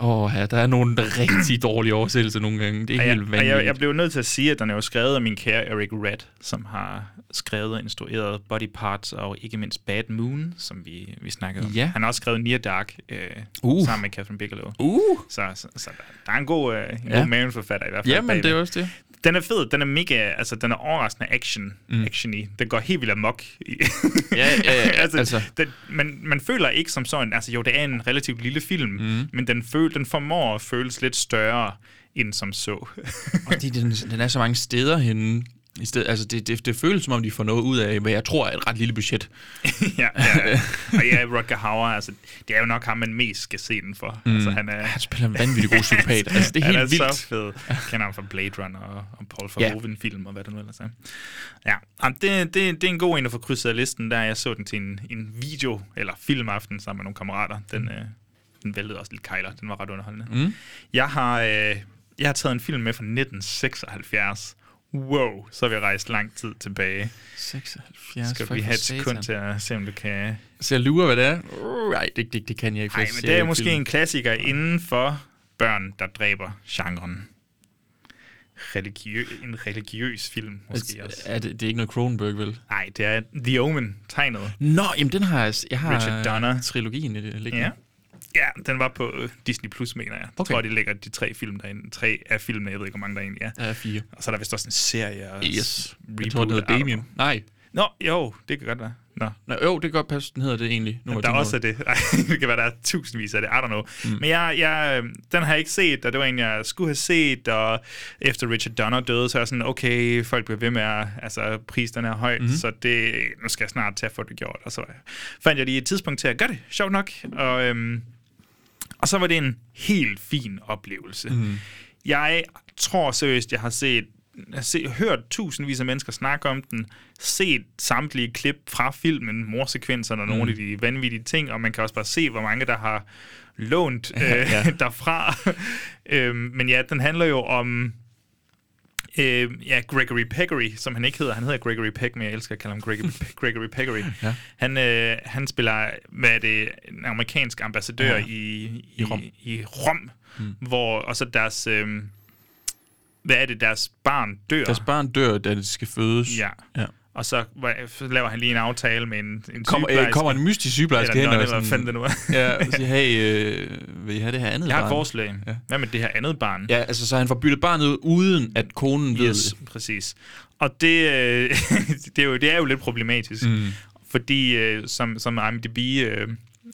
S4: Åh, oh, ja, der er nogle rigtig dårlige oversættelser nogle gange. Det er
S5: Og jeg,
S4: helt
S5: og
S4: vanvittigt.
S5: jeg, jeg blev nødt til at sige, at den er jo skrevet af min kære Eric Red, som har skrevet og instrueret Body Parts og ikke mindst Bad Moon, som vi, vi snakkede om.
S4: Ja.
S5: Han har også skrevet Near Dark øh,
S4: Uh.
S5: sammen med Catherine Bigelow.
S4: Uh!
S5: Så, så, så der, der er en god, øh, en
S4: Ja.
S5: god mailforfatter i hvert fald.
S4: Jamen,
S5: bagved.
S4: det er også det.
S5: Den er fed, den er mega, altså den er overraskende action, mm. action i. Den går helt vildt amok. i-
S4: Ja, ja, ja,
S5: altså,
S4: altså.
S5: altså. Den, man, man føler ikke som sådan, altså jo, det er en relativt lille film, mm. men den, føl, den formår at føles lidt større end som så.
S4: Fordi den, den er så mange steder henne. I sted, altså det, det, det føles som om, de får noget ud af, hvad jeg tror er et ret lille budget.
S5: ja, ja, ja. Og ja, Rodger Hauer, altså, det er jo nok ham, man mest skal se den for. Mm. Altså, han er,
S4: Han spiller en vanvittig god psykopat. altså det er
S5: han
S4: helt
S5: er
S4: vildt.
S5: så fed. Jeg kender ham fra Blade Runner og, og Paul
S4: Ja.
S5: Verhoeven-film og hvad det nu ellers er. Ja, Jamen, det, det, det er en god en at få krydset af listen, der jeg så den til en, en video- eller filmaften sammen med nogle kammerater. Den, øh, den væltede også lidt kejler, den var ret underholdende. Mm. Jeg, har, øh, jeg har taget en film med fra 1976. Wow, så har vi rejst lang tid tilbage.
S4: 76.
S5: Skal vi have et sekund til at se, om du kan...
S4: Så jeg lurer, hvad det er? Uh, Nej, det, det, det kan jeg ikke. for
S5: Nej,
S4: jeg
S5: men
S4: ser
S5: det er
S4: ikke
S5: måske
S4: film.
S5: en klassiker inden for børn, der dræber genren. Religiø- en religiøs film, måske også.
S4: Er det, det er ikke noget Cronenberg, vel?
S5: Nej, det er The Omen, tegnet.
S4: uh, Nå, jamen den har jeg... s- Jeg har
S5: Richard Donner.
S4: Trilogien i det liggende.
S5: Ja. Ja, den var på øh, Disney+, Plus, mener jeg. Jeg
S4: Okay.
S5: tror, de lægger de tre film derinde. Tre af filmene, jeg ved ikke, hvor mange der egentlig er.
S4: Der er fire.
S5: Og så er der vist også en serie. Og
S4: Yes.
S5: reboot,
S4: Jeg tror, den
S5: I
S4: hedder
S5: don't
S4: Damien.
S5: know.
S4: Nej.
S5: Nå, jo, det kan godt være. Nå,
S4: Nå, jo, det kan godt passe, den hedder det egentlig. Nu
S5: Nå,
S4: var
S5: der
S4: jeg
S5: også er
S4: tænkt
S5: det. Ej, det kan være, der er tusindvis af det. I don't know. Mm. Men jeg, jeg, øh, den har jeg ikke set, og det var en, jeg skulle have set. Og efter Richard Donner døde, så er jeg sådan, okay, folk bliver ved med at... Altså, prisen er høj, mm. så det, nu skal jeg snart tage for det gjort. Og så fandt jeg lige et tidspunkt til at gøre det, sjovt nok. Og, øhm, og så var det en helt fin oplevelse. Mm. Jeg tror seriøst, jeg har set jeg har se, hørt tusindvis af mennesker snakke om den, set samtlige klip fra filmen, morsekvenserne og nogle af de vanvittige ting, og man kan også bare se, hvor mange der har lånt øh, ja. derfra. øhm, men ja, den handler jo om øh, ja, Gregory Peccary, som han ikke hedder. Han hedder Gregory Peck, men jeg elsker at kalde ham Gregory, Gregory Peccary. ja. han, øh, han spiller, hvad er det, en amerikansk ambassadør ja. i, i, I
S4: Rom.
S5: I Rom mm. hvor, og så deres, øh, hvad er det, deres barn dør.
S4: Deres barn dør, da det skal fødes.
S5: Ja.
S4: ja.
S5: Og så, hva- så laver han lige en aftale med en, en
S4: Kom, øh,
S5: sygeplejerske,
S4: kommer en altså, mystisk sygeplejerske
S5: eller
S4: hen
S5: en
S4: og
S5: nonne, eller hvad fanden det nu er.
S4: ja, og siger, hey, øh, vil I have det her andet
S5: Jeg har et
S4: barn?
S5: forslag.
S4: Ja.
S5: Hvad med det her andet barn?
S4: Ja, altså, så han får byttet barnet ud, uden at konen ved
S5: Yes, præcis. Og det, øh, det, er jo, det er jo lidt problematisk, mm. fordi øh, som, som IMDb øh,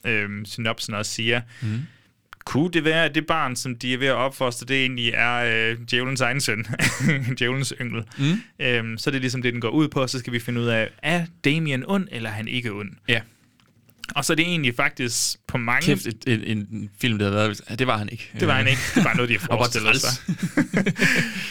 S5: øh, synopsen også siger, mm. kunne det være, at det barn, som de er ved at opfostre, det egentlig er øh, djævelens egen søn, djævelens yngel. Mm. Øhm, så er det ligesom det, den går ud på, og så skal vi finde ud af, er Damien ond, eller er han ikke ond?
S4: Ja.
S5: Og så er det egentlig faktisk på mange...
S4: Kæft, et, en, en, en film, der havde været... Ja, det var han ikke. Øh,
S5: Det var han ikke. Det var noget, de
S4: Og
S5: har
S4: var
S5: forestillet sig.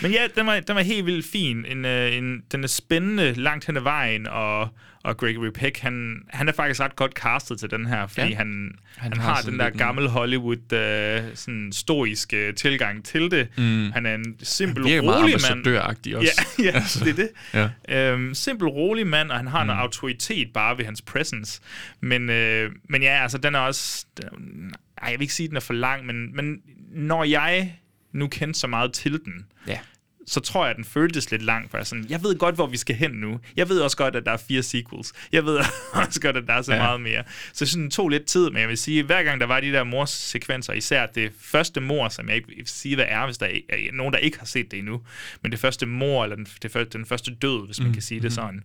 S5: Men ja, den var, den var helt vildt fin. En, øh, en, den er spændende langt hen ad vejen, og, og Gregory Peck, han, han er faktisk ret godt castet til den her, fordi
S4: Ja.
S5: ja. han,
S4: Han
S5: han,
S4: har
S5: har,
S4: sådan
S5: den der
S4: lidt en-
S5: gamle Hollywood øh, sådan stoiske tilgang til det. Mm. Han er en simpel,
S4: Virker meget
S5: rolig mand.
S4: ambassadøragtig også.
S5: Ja, ja altså. det er det. Ja. Øhm, simpel, rolig mand, og han har mm. en autoritet bare ved hans presence. Men, øh, men ja, altså, den er også... Den, ej, jeg vil ikke sige, at den er for lang, men, men når jeg nu kendte så meget til den,
S4: Ja.
S5: så tror jeg, at den føltes lidt lang, for jeg, er sådan, jeg ved godt, hvor vi skal hen nu. Jeg ved også godt, at der er fire sequels. Jeg ved også godt, at der er så
S4: Ja.
S5: ja. meget mere. Så jeg synes, den tog lidt tid, men jeg vil sige, hver gang der var de der morsekvenser, især det første mor, som jeg ikke vil sige, hvad er, hvis der er nogen, der ikke har set det endnu, men det første mor, eller den, det første, den første død, hvis man kan sige det sådan,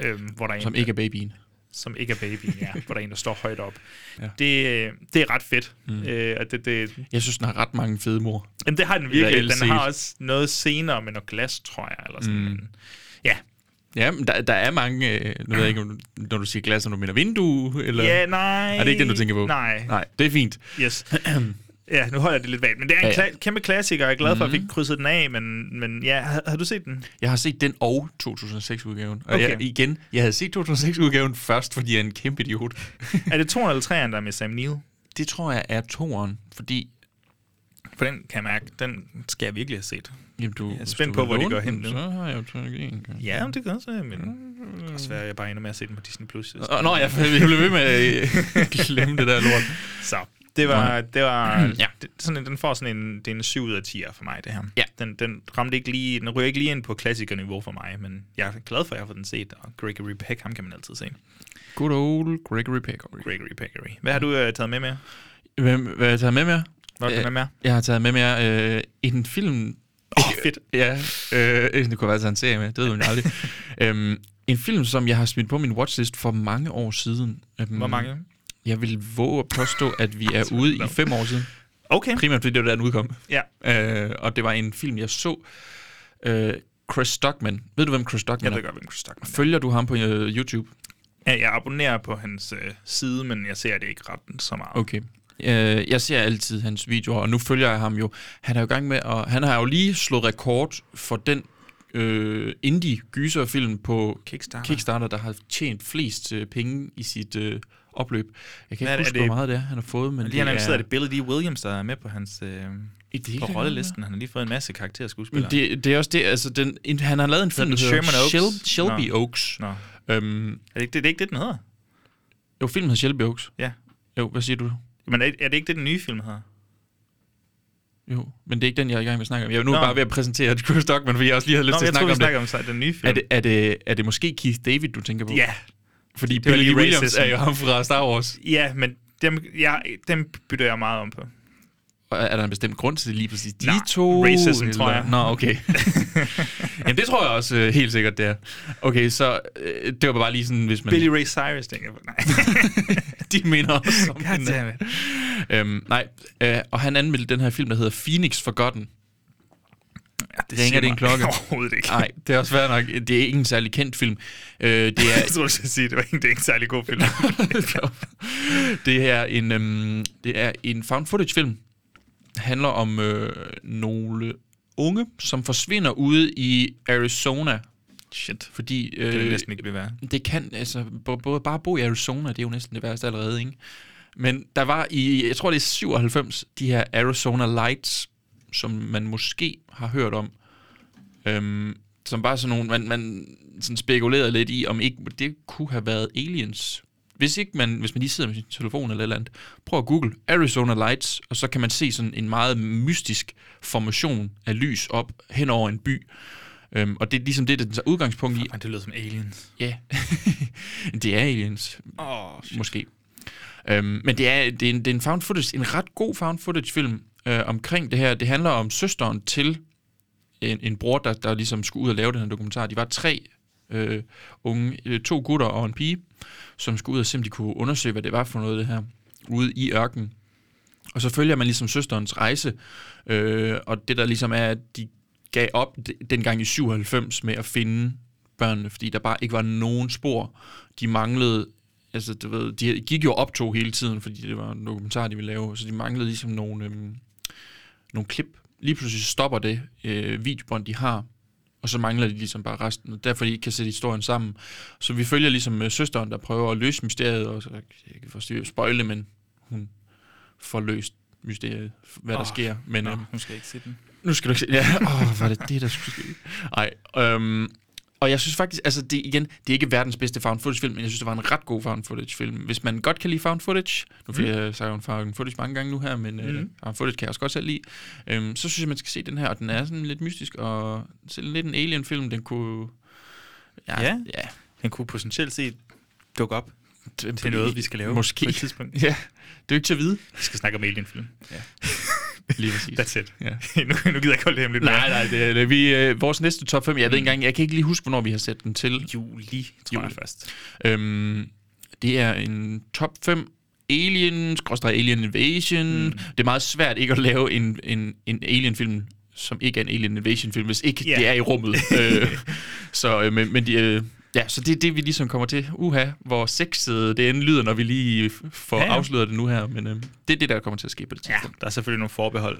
S5: øhm, hvor der er en,
S4: Som ikke er babyen.
S5: som ikke er babyen, ja, hvor der er en, der står højt op.
S4: Ja.
S5: Ja. Det, øh, det er ret fedt. Mm. Øh, og det, det,
S4: Jeg synes, den har ret mange fede mor.
S5: Jamen, det har den
S4: Eller
S5: virkelig.
S4: LCD.
S5: Den har også noget senere med noget glas, tror jeg. Eller sådan. Mm. Ja.
S4: Ja, men der, der er mange... Øh, nu ved jeg ikke, om du- når du siger glas, om du mener vindue, eller...
S5: ja, nej.
S4: Er det ikke den, du tænker på?
S5: Nej.
S4: Nej, det er fint.
S5: Yes. ja, nu holder jeg det lidt vagt. Men det er en
S4: Ja, Mhm. ja.
S5: kla- kæmpe klassiker, og jeg er glad for, at vi fik krydset den af. Men, men ja, har, har du set den?
S4: Jeg har set den og 2006-udgaven. Og
S5: Okay.
S4: jeg, igen, jeg havde set 2006-udgaven først, fordi jeg er en kæmpe idiot.
S5: Er det 2 eller 3'eren, der er med Sam Neill?
S4: det tror jeg er toeren, fordi...
S5: For den kan jeg mærke, den skal jeg virkelig have set.
S4: Jamen, du, jeg
S5: er spændt på, hvor de går hen nu.
S4: Så har jeg jo trilogien.
S5: Ja, men det kan også være, men det kan også være, at jeg bare ender med at se den på Disney+. Plus.
S4: Åh, Nå, jeg, jeg blev ved med at glemme det der lort.
S5: Så det var, det var
S4: Ja.
S5: ja. det, sådan, en- den får sådan en, det er en 7 ud af 10 for mig, det her.
S4: Ja.
S5: Den, den ramte ikke lige, den ryger ikke lige ind på klassikerniveau for mig, men jeg er glad for, at jeg har fået den set, og Gregory Peck, ham kan man altid se.
S4: Good old Gregory Peck.
S5: Gregory Peckary. Hvad har du øh, taget med med?
S4: Hvem, hvad har jeg taget med mere?
S5: Hvad har du
S4: Øh,
S5: taget med mere?
S4: Jeg har taget med mere øh, en film,
S5: Åh, oh, fedt.
S4: Ja, øh, det kunne være, at han serie med. Det ved man jo aldrig. øhm, en film, som jeg har smidt på min watchlist for mange år siden. Øhm,
S5: Hvor mange?
S4: Jeg vil våge at påstå, at vi er ude i fem år siden.
S5: Okay.
S4: Primært fordi det var der, den udkom.
S5: Ja.
S4: Øh, og det var en film, jeg så. Øh, Chris Stockman. Ved du, hvem Chris Stockman
S5: Jeg
S4: er?
S5: ved godt, hvem Chris Stockman er.
S4: Følger du ham på øh, YouTube?
S5: Ja, jeg abonnerer på hans øh, side, men jeg ser det ikke ret så meget.
S4: Okay. Øh, jeg ser altid hans videoer, og nu følger jeg ham jo. Han er jo i gang med, og han har jo lige slået rekord for den øh, indie-gyserfilm på
S5: Kickstarter.
S4: Kickstarter, der har tjent flest øh, penge i sit øh, opløb. Jeg kan
S5: Hvad er
S4: ikke
S5: det-
S4: huske,
S5: er det-
S4: hvor meget det er, han har fået, men
S5: Lige han
S4: det
S5: annonceret,
S4: er...
S5: at det er Billy D. Williams, der er med på hans øh,
S4: Det er ikke
S5: på
S4: engang
S5: rollelisten. Han har lige fået en masse karakterskuespillere.
S4: Men det, det er også det, altså den, en, han har lavet en film, der
S5: den
S4: hedder
S5: Sherman Oaks?
S4: Shel- Shelby
S5: Nå.
S4: Oaks.
S5: Nå.
S4: Øhm,
S5: Er det, ikke, det, det er ikke det, den hedder?
S4: jo, filmen hedder Shelby Oaks.
S5: Ja.
S4: Jo, hvad siger du?
S5: Men er, er det ikke det, den nye film hedder?
S4: Jo, men det er ikke den, jeg er i gang med at snakke om. Jeg er nu
S5: Nå.
S4: bare ved at præsentere Chris Stockman, fordi jeg også lige havde lyst
S5: Nå,
S4: til at
S5: jeg tror,
S4: snakke
S5: vi
S4: om det.
S5: snakker om så, den nye film.
S4: Er det, er, det, er det måske Keith David, du tænker på?
S5: Ja,
S4: Fordi
S5: det var
S4: Billy
S5: lige
S4: Dee Williams
S5: racism.
S4: er jo ham fra Star Wars.
S5: ja men dem, jeg, dem bytter jeg meget om på.
S4: Og er der en bestemt grund til det lige præcis? De
S5: Nej,
S4: to?
S5: racism, tror jeg.
S4: Nå, okay. Jamen, det tror jeg også øh, helt sikkert, det er. Okay, så øh, det var bare lige sådan, hvis man...
S5: Billy Ray Cyrus, tænker jeg på. Nej.
S4: de minder også om
S5: God damn it.
S4: Øhm, nej, øh, og han anmeldte den her film, der hedder Phoenix Forgotten.
S5: Ja, det
S4: Ringer
S5: siger
S4: det en
S5: mig
S4: klokke?
S5: Overhovedet ikke.
S4: Nej, det er også fair nok. Det er ikke en særlig kendt film. Øh, det
S5: Jeg
S4: er...
S5: tror, du skal sige, det var ikke, det er ikke en særlig god film.
S4: det er en, øhm, det er en found footage film. handler om øh, nogle unge, som forsvinder ude i Arizona,
S5: Shit.
S4: fordi
S5: Det
S4: øh,
S5: kan
S4: det,
S5: næsten ikke blive værre.
S4: det kan altså b- både bare bo i Arizona, det er jo næsten det værste allerede, ikke? Men der var i, jeg tror det er 97, de her Arizona Lights, som man måske har hørt om, øhm, som bare sådan nogle, man, man sådan spekulerede lidt i, om ikke det kunne have været aliens. Hvis ikke man, hvis man lige sidder med sin telefon eller et eller andet, prøv at google Arizona Lights, og så kan man se sådan en meget mystisk formation af lys op hen over en by. Øhm, og det er ligesom det, den tager udgangspunkt i.
S5: Men det lyder som aliens.
S4: Ja, det er aliens,
S5: Åh, oh,
S4: måske. Øhm, men det er, det, er en, det er en found footage, en ret god found footage film øh, omkring det her. Det handler om søsteren til en, en bror, der, der ligesom skulle ud og lave den her dokumentar. De var tre øh, unge, øh, to gutter og en pige, som skulle ud og se, om de kunne undersøge, hvad det var for noget, det her, ude i ørkenen. Og så følger man ligesom søsterens rejse, øh, og det der ligesom er, at de gav op d- dengang i 97 med at finde børnene, fordi der bare ikke var nogen spor. De manglede, altså du ved, de gik jo og optog hele tiden, fordi det var en dokumentar, de ville lave, så de manglede ligesom nogle, øhm, nogle klip. Lige pludselig stopper det øh, videobånd, de har, og så mangler de ligesom bare resten, og derfor de ikke kan sætte historien sammen. Så vi følger ligesom øh, søsteren, der prøver at løse mysteriet, og så, jeg kan forstå spøjle, men hun får løst mysteriet, hvad der
S5: Åh,
S4: sker. Men, øhm,
S5: Nå, nu skal jeg ikke se den.
S4: nu skal du ikke se. Ja, åh, var det det, der skulle ske? Ej, øhm, og jeg synes faktisk, altså det, igen, det er ikke verdens bedste found footage film, men jeg synes, det var en ret god found footage film. Hvis man godt kan lide found footage, nu
S5: Mm.
S4: fik jeg sagt om found footage mange gange nu her, men mm. øh, found footage kan jeg også godt selv lide, øhm, så synes jeg, man skal se den her, og den er sådan lidt mystisk, og selv lidt en alien film, den kunne...
S5: Ja.
S4: ja
S5: Den kunne potentielt set dukke op.
S4: det,
S5: er noget, vi skal lave
S4: Måske.
S5: på et tidspunkt.
S4: Ja, det er jo ikke til at vide.
S5: Vi skal snakke om alien-film.
S4: Lige præcis.
S5: That's it.
S4: Ja.
S5: nu, nu gider jeg godt lidt lidt
S4: Nej, nej, det, det, vi, øh, vores næste top 5, jeg ved ikke engang, jeg kan ikke lige huske, hvornår vi har sat den til.
S5: Juli, tror
S4: Juli.
S5: jeg først.
S4: Øhm, det er en top 5 Alien, skråstrej Alien Invasion. Mm. Det er meget svært ikke at lave en, en, en Alien-film, som ikke er en Alien Invasion-film, hvis ikke
S5: Ja.
S4: yeah. det er i rummet. øh, så, øh, men, men de, øh, ja, så det er det, vi ligesom kommer til. Uha, hvor sexet det end lyder, når vi lige f- får
S5: Ja,
S4: ja,
S5: ja.
S4: ja. afsløret det nu her. Men øh, det er det, der kommer til at ske på det
S5: Ja,
S4: tidspunkt.
S5: der er selvfølgelig nogle forbehold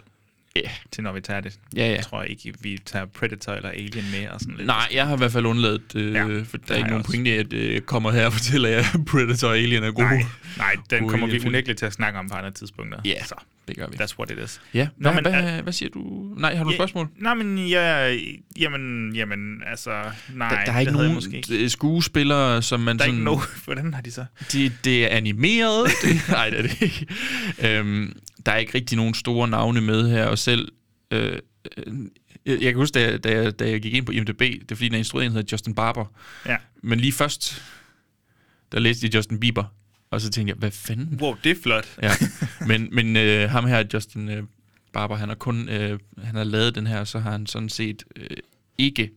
S4: Ja.
S5: til, når vi tager det.
S4: Ja, ja.
S5: Jeg tror ikke, vi tager Predator eller Alien med og sådan lidt.
S4: Nej, jeg har i hvert fald undladt, øh,
S5: Ja,
S4: ja,
S5: det
S4: for der
S5: har
S4: er ikke
S5: jeg
S4: nogen
S5: også.
S4: pointe i, at øh, jeg kommer her og fortæller jer, at Predator og Alien er gode.
S5: Nej, nej den
S4: Gode
S5: kommer vi
S4: Alien-film.
S5: unægteligt til at snakke om på andre tidspunkter.
S4: Ja,
S5: Så,
S4: det gør vi.
S5: that's what it is.
S4: Ja,
S5: Nå,
S4: Nå, øh, hvad,
S5: men,
S4: hvad, hvad siger du? Nej, har du et spørgsmål?
S5: Ja, nej, men jeg... Jamen, jamen, altså... Nej,
S4: der, der
S5: det
S4: er ikke
S5: havde jeg
S4: nogen
S5: Måske ikke.
S4: øh, skuespillere, som man
S5: Der er
S4: sådan...
S5: ikke nogen... Hvordan har de så?
S4: det, det er animeret. Det, nej, det er det ikke. Øhm, der er ikke rigtig nogen store navne med her, og selv... Øh, øh, jeg, jeg kan huske, da jeg, da, jeg, da jeg gik ind på IMDb, det er fordi, den instruerede en hedder Justin Barber.
S5: Ja.
S4: Men lige først, der læste jeg Justin Bieber, og så tænkte jeg, hvad fanden?
S5: Wow, det er flot.
S4: Ja. Men, men øh, ham her, Justin øh, Barber. Han har kun øh, han har lavet den her, og så har han sådan set øh, ikke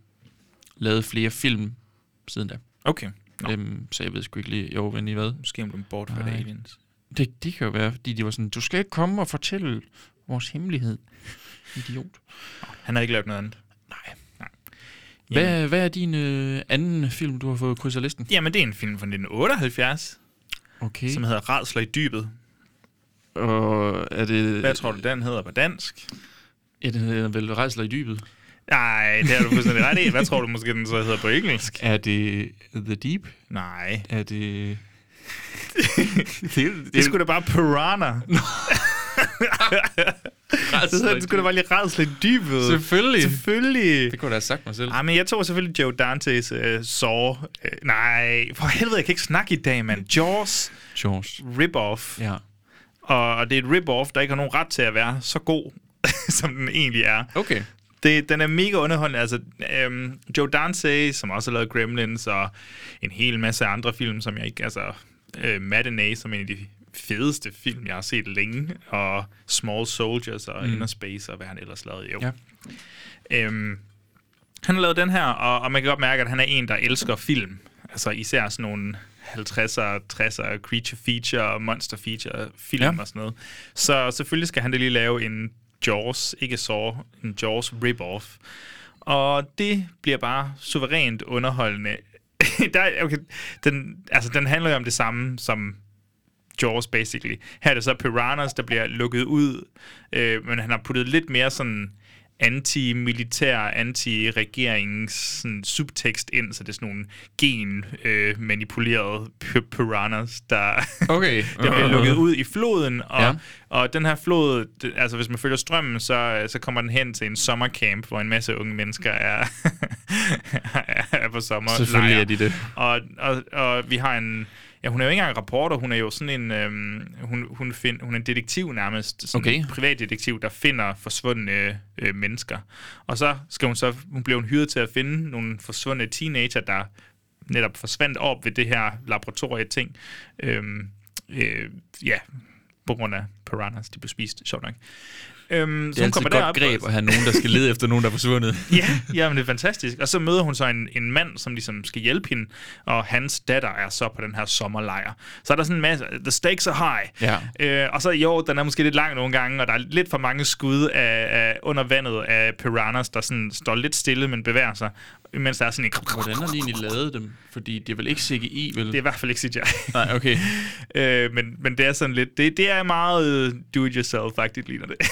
S4: lavet flere film siden da.
S5: Okay. Nå,
S4: Øhm, så jeg ved sgu ikke lige, jo, men I hvad?
S5: måske om du er bortført af
S4: Nej.
S5: aliens.
S4: Det, det kan jo være, fordi de var sådan, du skal ikke komme og fortælle vores hemmelighed. Idiot.
S5: Han har ikke lavet noget andet.
S4: Hvad, hvad er din øh, anden film, du har fået krydset af listen?
S5: Jamen, det er en film fra 1978,
S4: Okay.
S5: som hedder Radsler i dybet.
S4: Og er det...
S5: Hvad tror du, den hedder på dansk?
S4: Ja, den hedder vel Rejsler i dybet.
S5: Nej, det har du fuldstændig ret i. Hvad tror du måske, den så hedder på engelsk?
S4: Er det The Deep?
S5: Nej.
S4: Er det...
S5: Det skulle da bare Piranha. Det hedder- det skulle da bare lige Radsler i dybet.
S4: Selvfølgelig.
S5: Selvfølgelig.
S4: Det kunne jeg da have sagt mig selv.
S5: Ej, men jeg tog selvfølgelig Joe Dantes øh, Saw. Øh, nej, for helvede, jeg kan ikke snakke i dag, mand. Jaws
S4: George.
S5: rip-off.
S4: Ja.
S5: Og, og det er et rip-off, der ikke har nogen ret til at være så god, som den egentlig er.
S4: Okay.
S5: Det, den er mega underholdende. Altså, øhm, Joe Dante, som også har lavet Gremlins, og en hel masse andre film, som jeg ikke... Altså, øh, Matinee, som er en af de fedeste film, jeg har set længe, og Small Soldiers og mm. Inner Space, og hvad han ellers lavede. Jo.
S4: Ja.
S5: Øhm, han har lavet den her, og, og man kan godt mærke, at han er en, der elsker film. Altså især sådan nogle 50'er, 60'er creature feature, monster feature film
S4: Ja.
S5: ja. og sådan noget. Så selvfølgelig skal han da lige lave en Jaws, ikke Saw, en Jaws rip-off. Og det bliver bare suverænt underholdende. der, er- okay, den, altså, den handler jo om det samme som Jaws, basically. Her er det så Piranhas, der bliver lukket ud, øh, men han har puttet lidt mere sådan anti-militær, anti-regerings sådan, subtekst ind, så det er sådan nogle gen-manipulerede piranhas, der,
S4: Okay. Øh,
S5: der bliver lukket ud i floden. Og,
S4: Ja.
S5: ja. og den her flod, det, altså hvis man følger strømmen, så, øh, så kommer den hen til en sommercamp, hvor en masse unge mennesker er, er på sommer.
S4: Selvfølgelig er de det.
S5: Og, og, og vi har en... Ja, hun er jo ikke engang rapporter, hun er jo sådan en... Øhm, hun, hun, find, hun er en detektiv nærmest. Sådan
S4: Okay.
S5: En privatdetektiv, der finder forsvundne øh, mennesker. Og så skal hun så... Hun bliver hun hyret til at finde nogle forsvundne teenager, der netop forsvandt op ved det her laboratorieting. Øhm, øh, ja, på grund af piranhas, de blev spist, sjovt nok. Øhm,
S4: Det er altid et godt greb at have nogen, der skal lede efter nogen, der er forsvundet.
S5: ja, jamen, det er fantastisk. Og så møder hun så en, en mand, som ligesom skal hjælpe hende, og hans datter er så på den her sommerlejr. Så er der sådan en masse, the stakes are high.
S4: Ja.
S5: Øh, og så jo, den er måske lidt lang nogle gange, og der er lidt for mange skud af, af under vandet af piranhas, der sådan står lidt stille, men bevæger sig, mens der er sådan en...
S4: Hvordan har de egentlig lavet dem? Fordi det er vel ikke CGI, vel?
S5: Det er i hvert fald ikke CGI.
S4: Nej, okay.
S5: øh, men, men det er sådan lidt, det, det er meget øh, do-it-yourself-agtigt, ligner det.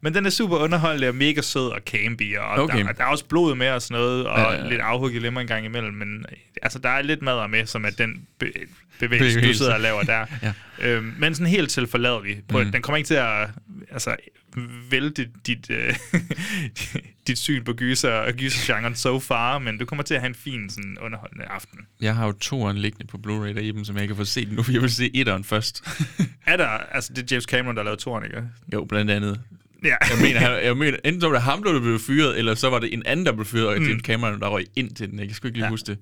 S5: men den er super underholdende og mega sød og campy, og
S4: Okay.
S5: okay. der, der er også blod med og sådan noget, og
S4: Ja, ja, ja.
S5: lidt afhugget lemmer en gang imellem, men øh, altså, der er lidt madder med, som er den be- bevægelse,
S4: Bevægelse.
S5: du sidder og laver der.
S4: Ja. Mm.
S5: øhm, men sådan helt tilforladelig. På, Den kommer ikke til at altså, vælte dit, øh, dit syn på gyser og gysergenren so far, men du kommer til at have en fin sådan, underholdende aften.
S4: Jeg har jo toeren liggende på Blu-ray derhjemme, som jeg ikke har fået set nu, for jeg vil se etteren først.
S5: Er der, altså det er James Cameron, der lavede Toren, ikke?
S4: jo, blandt andet.
S5: Ja.
S4: Jeg mener, jeg, jeg mener, enten så var det ham, der blev fyret, eller så var det en anden, der blev fyret, og det er en kamera, der røg ind til den. Jeg kan sgu ikke lige Mm. ja.
S5: Ja.
S4: huske det.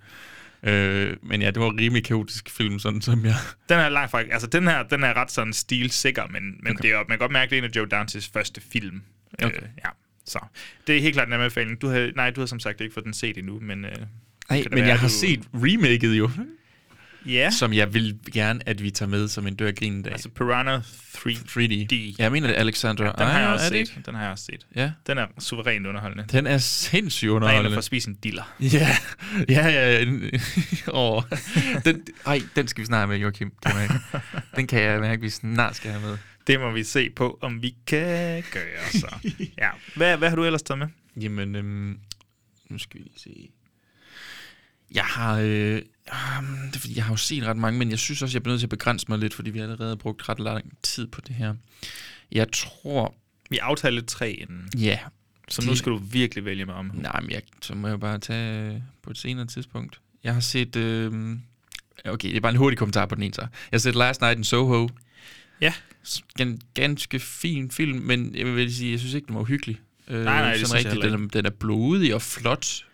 S4: Øh, men ja, det var en rimelig kaotisk film, sådan som jeg...
S5: Den er langt fra, altså den her, den er ret sådan stilsikker, men, men okay. det er, jo- man kan godt mærke, det er en af Joe Dantes første film.
S4: Okay.
S5: Øh, ja. Så det er helt klart en anbefaling. Du havde, nej, du har som sagt ikke fået den set endnu, men øh,
S4: Nej,
S5: Kan det
S4: men
S5: være,
S4: jeg har
S5: du-
S4: set remaket jo,
S5: ja,
S4: som jeg vil gerne, at vi tager med som en dør grinen dag.
S5: altså Piranha 3.
S4: 3D.
S5: D.
S4: Jeg mener, det er Alexander
S5: Den har jeg
S4: Ayer,
S5: også
S4: Ah, er det
S5: set.
S4: ikke?
S5: Den har jeg også set.
S4: Ja.
S5: Den er suverænt underholdende. Den
S4: Den er sindssygt
S5: er en, der
S4: underholdende.
S5: får spist en diller.
S4: Ja, ja, ja. ja. oh. den, ej, den skal vi snart have med, Joachim. Den, er, den kan jeg mærke, vi snart skal have med.
S5: Det må vi se på, om vi kan gøre så. ja. hvad, hvad har du ellers taget med?
S4: Jamen, øhm, nu skal vi lige se. Jeg har... Øh, um, det er fordi, jeg har jo set ret mange, men jeg synes også, jeg bliver nødt til at begrænse mig lidt, fordi vi allerede har brugt ret lang tid på det her. Jeg tror...
S5: Vi aftalte tre inden,
S4: Ja.
S5: så nu skal du virkelig vælge mig om.
S4: Nej, men jeg, så må jeg jo bare tage øh, på et senere tidspunkt. Jeg har set... Øh, okay, det er bare en hurtig kommentar på den ene så. Jeg har set Last Night in Soho.
S5: Ja.
S4: en ganske fin film, men jeg vil sige, jeg synes ikke, den var uhyggelig. Øh,
S5: nej, det
S4: sådan
S5: synes jeg heller
S4: Den, er, den er blodig og flot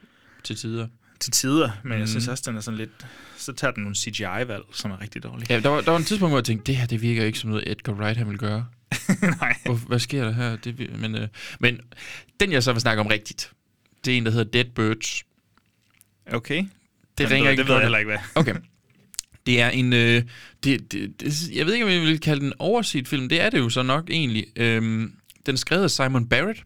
S4: til tider.
S5: til tider, men mm.
S4: Mhm.
S5: jeg synes også, den er sådan lidt... Så tager den nogle CGI-valg, som er rigtig dårlige.
S4: Ja, der var, der var en tidspunkt, hvor jeg tænkte, det her det virker ikke som noget, Edgar Wright han ville gøre.
S5: Nej.
S4: Hvor, hvad sker der her? Det, er vi- men, øh, men den, jeg så vil snakke om rigtigt, det er en, der hedder Dead Birds.
S5: Okay.
S4: Det
S5: Jamen,
S4: ringer
S5: det,
S4: ikke
S5: det ved jeg
S4: klokken.
S5: heller ikke, hvad.
S4: Okay. Det er en... Øh, det, det, det, jeg ved ikke, om jeg vil kalde den overset film. Det er det jo så nok egentlig. Øhm, den er skrevet af Simon Barrett.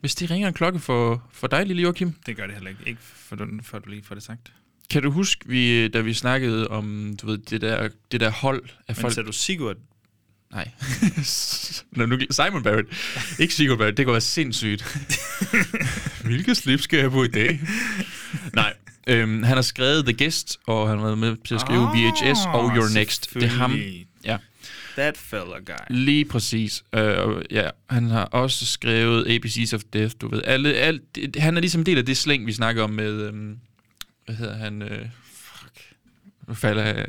S4: Hvis det ringer en klokke for, for dig, lille Joachim.
S5: Det gør det heller ikke. Ikke for, du- for du lige får det sagt.
S4: Kan du huske, vi, da vi snakkede om du ved, det, der, det der hold af
S5: Men
S4: folk...
S5: så du Sigurd?
S4: Nej. Nå, nu, Simon Barrett. Ikke Sigurd Barrett. Det går være sindssygt. Hvilket slip skal jeg på i dag? Nej. Øhm, han har skrevet The Guest, og han har været med til at skrive
S5: Ah,
S4: VHS og Your Next. Det er ham.
S5: selvfølgelig.
S4: Ja,
S5: That fella guy.
S4: lige præcis. Øh, og ja, han har også skrevet ABC's of Death, du ved. Alle, alt, det- han er ligesom en del af det slæng, vi snakker om med... Øhm, hvad hedder han? Øh, fuck. Nu falder jeg...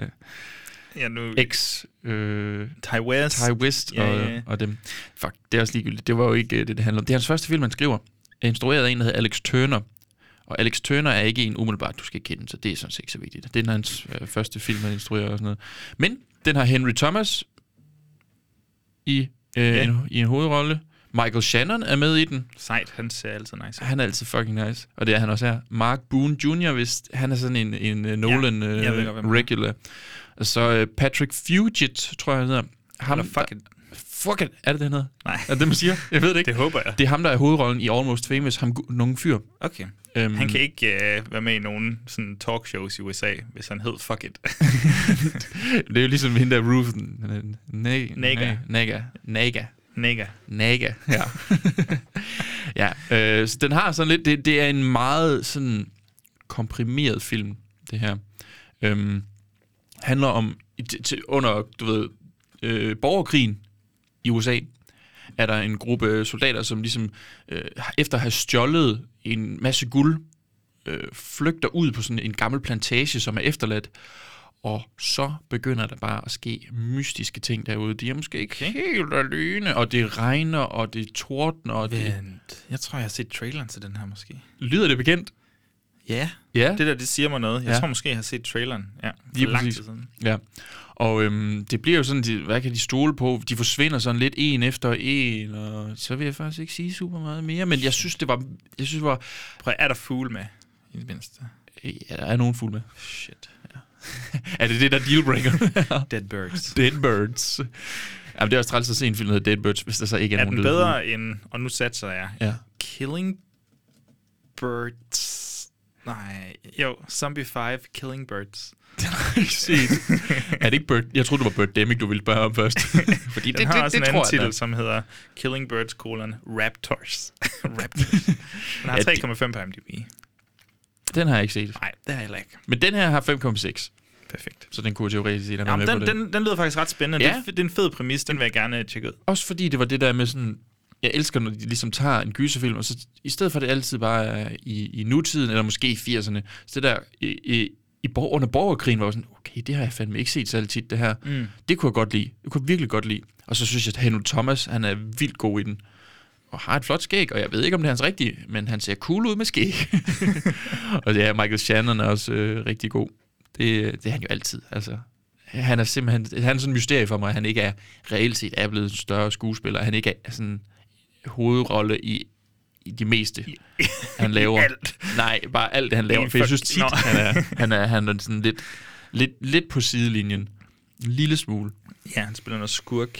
S5: Ja, nu...
S4: X... Øh,
S5: Ty West.
S4: Ty West
S5: Ja,
S4: og,
S5: ja, ja.
S4: og dem. Fuck, det er også ligegyldigt. Det var jo ikke øh, det, det handler om. Det er hans første film, han skriver. Er Instrueret af en, der hedder Alex Turner. Og Alex Turner er ikke en umiddelbart, du skal kende, så det er sådan set ikke så vigtigt. Det er hans øh, første film, han instruerer og sådan noget. Men den har Henry Thomas i, øh,
S5: Ja.
S4: en, i en hovedrolle. Michael Shannon er med i den.
S5: Sejt, han ser altid nice. ud.
S4: Han er altid fucking nice. Og det er han også her. Mark Boone Jr., hvis han er sådan en, en øh, Nolan
S5: jeg ved
S4: øh,
S5: godt, hvem han er.
S4: regular. Og så øh, Patrick Fugit, tror jeg, han hedder. Ham,
S5: Eller fuck it.
S4: Fuck it. Er det den hedder?
S5: Nej.
S4: Er det det, man siger? Jeg ved det ikke.
S5: Det håber jeg.
S4: Det er ham, der er hovedrollen i Almost Famous. Ham gu- nogen fyr.
S5: Okay.
S4: Øhm,
S5: Han kan ikke øh, være med i nogen sådan talkshows i USA, hvis han hed fuck it.
S4: Det er jo ligesom hende der Ruth. n- n- Naga.
S5: Naga.
S4: Naga. Naga.
S5: Nigga.
S4: Naga. Ja. ja. Øh, så den har sådan lidt... Det, det er en meget sådan komprimeret film, det her. Øhm, handler om... i- Til, til- under, du ved, øh, borgerkrigen i USA, er der en gruppe soldater, som ligesom øh, efter at have stjålet en masse guld, øh, flygter ud på sådan en gammel plantage, som er efterladt, og så begynder der bare at ske mystiske ting derude. De er måske ikke okay. helt alene, og det regner, og det tordner, og det...
S5: Vent. Jeg tror, jeg har set traileren til den her måske.
S4: Lyder det bekendt?
S5: Ja.
S4: Ja.
S5: Det der, det siger mig noget. Jeg
S4: Ja.
S5: tror måske, jeg har set traileren. Ja, for
S4: Lige
S5: lang
S4: præcis.
S5: tid siden.
S4: Ja, og øhm, det bliver jo sådan, de, hvad kan de stole på? De forsvinder sådan lidt en efter en, og så vil jeg faktisk ikke sige super meget mere, men jeg synes, det var, jeg synes, det var,
S5: Prøv, er der fugle med? I det mindste.
S4: ja, der er nogen fuld med.
S5: Shit.
S4: Er det det, der er dealbreaker?
S5: Dead Birds.
S4: Dead Birds. Jamen, det er også træls at se en film, der hedder Dead Birds, hvis der så ikke er,
S5: Er
S4: nogen
S5: den
S4: døde
S5: bedre end... Og nu satser jeg.
S4: fugle. Ja.
S5: Killing Birds. Nej. Jo, Zombie 5, Killing Birds.
S4: Den har jeg ikke set. er det ikke Bird... Jeg troede, det var Birdemic, du ville spørge om først. Fordi
S5: Den
S4: det,
S5: det,
S4: det,
S5: har
S4: det,
S5: også
S4: det,
S5: en anden
S4: tror jeg,
S5: titel,
S4: den
S5: som hedder Killing Birds, colon, Raptors. Raptors. Den har
S4: Ja,
S5: 3,5 på IMDb.
S4: er. den har jeg ikke set.
S5: Nej, det har jeg heller ikke.
S4: Men den her har 5,6,
S5: Perfekt.
S4: så den kunne jeg teoretisk set have været
S5: Jamen,
S4: med
S5: den,
S4: på den.
S5: den, den lyder faktisk ret spændende.
S4: Ja.
S5: Ja. Det, er- det er en fed præmis, den vil jeg gerne øh, tjekke ud.
S4: Også fordi det var det der med sådan... Jeg elsker, når de ligesom tager en gyserfilm, og så i stedet for at det altid bare er i, i nutiden, eller måske i 80'erne, så det der i, i, i borg, under borgerkrigen var jo sådan, okay, det har jeg fandme ikke set særlig tit, det her. Mm. Det kunne jeg godt lide. Det kunne jeg virkelig godt lide. Og så synes jeg, at Henry Thomas, han er vildt god i den. Og har et flot skæg, og jeg ved ikke, om det er hans rigtige, men han ser cool ud med skæg. og ja, Michael Shannon er også øh, rigtig god. Det, det er han jo altid, altså. Han er simpelthen han er sådan et mysterie for mig, at han ikke er reelt set er blevet en større skuespiller. Han ikke er sådan hovedrolle i, i det meste, han laver.
S5: alt.
S4: Nej, bare alt det, han laver.
S5: I
S4: For jeg
S5: fuck-
S4: synes tit,
S5: Nå.
S4: han er, han er, han er sådan lidt, lidt, lidt på sidelinjen. En lille smule.
S5: Ja, han spiller noget skurk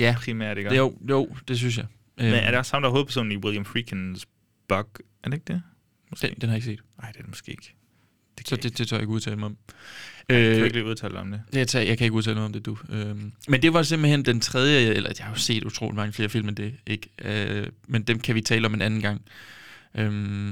S4: Ja,
S5: primært, ikke?
S4: det, jo, jo, det synes jeg. Øhm,
S5: Men er det også ham, der er hovedpersonen i William Freakins Bug? Er det ikke det? Måske.
S4: den, Øh. den har jeg ikke set.
S5: Nej, det er det måske ikke. Det kan
S4: Så
S5: jeg
S4: det, det tør jeg ikke udtale mig om.
S5: Kan du
S4: Øh,
S5: ikke lige udtale dig om det?
S4: jeg, tager, jeg kan ikke udtale noget om det, du. Øhm, men det var simpelthen den tredje, eller jeg har jo set utrolig mange flere film end det, ikke? Øh, men dem kan vi tale om en anden gang. Øhm,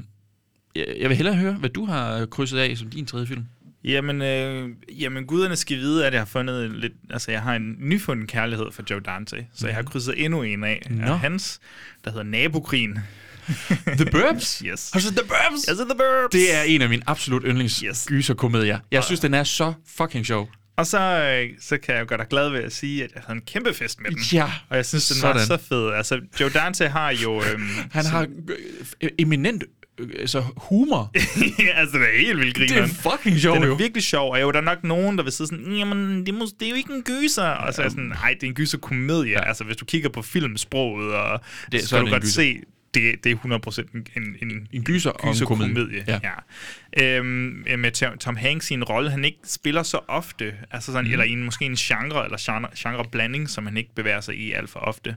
S4: jeg, jeg vil hellere høre, hvad du har krydset af som din tredje film.
S5: Jamen, øh, jamen, guderne skal vide, at jeg har fundet lidt... Altså, jeg har en nyfunden kærlighed for Joe Dante, så jeg har krydset endnu en af,
S4: Mhm. Nå.
S5: af hans, der hedder Nabokrigen.
S4: The Burbs?
S5: Yes.
S4: Har du set The Burbs?
S5: Altså, The Burbs!
S4: Det er en af mine absolut yndlings yes.
S5: Yes.
S4: gyserkomedier. Jeg synes, den er så fucking sjov.
S5: Og så, øh, så kan jeg jo gøre dig glad ved at sige, at jeg havde en kæmpe fest med den.
S4: Ja,
S5: Og jeg synes, den
S4: sådan.
S5: var så fed. Altså, Joe Dante har jo... Øhm,
S4: Han har øh, eminent øh, altså humor.
S5: altså, det er helt vildt
S4: Det er
S5: grineren.
S4: fucking sjovt,
S5: Den er
S4: jo.
S5: virkelig sjov, og jo, der er nok nogen, der vil sidde sådan, jamen, det, må, det er jo ikke en gyser. Og så er jeg sådan, nej, det er en gyserkomedie. Ja. Altså, hvis du kigger på filmsproget, og
S4: Det-
S5: det,
S4: så
S5: så,
S4: er
S5: kan
S4: det
S5: du
S4: en
S5: godt
S4: gyser.
S5: se, det, det er 100% en, en, en,
S4: En gyser og en komedie.
S5: Ja.
S4: Ja.
S5: ja. Øhm, med Tom- Tom Hanks i en rolle, han ikke spiller så ofte, altså
S4: Mhm.
S5: sådan, mm. eller i en, måske en genre, eller genre, genre-blanding, som han ikke bevæger sig i alt for ofte.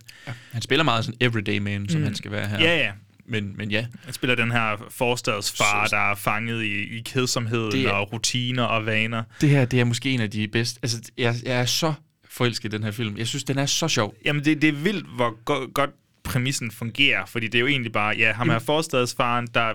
S4: Han spiller meget sådan everyday man, som han skal være her.
S5: Mm. Ja, ja.
S4: Men, men ja,
S5: Han spiller den her forstadsfar, der er fanget i, i kedsomheden
S4: Det er-
S5: og rutiner og vaner.
S4: det her det er måske en af de bedste. Altså, jeg, jeg er så forelsket i den her film. Jeg synes, den er så sjov.
S5: Jamen, det, det er vildt, hvor go- godt præmissen fungerer, fordi det er jo egentlig bare, ja, ham
S4: Mm.
S5: er forstadsfaren, der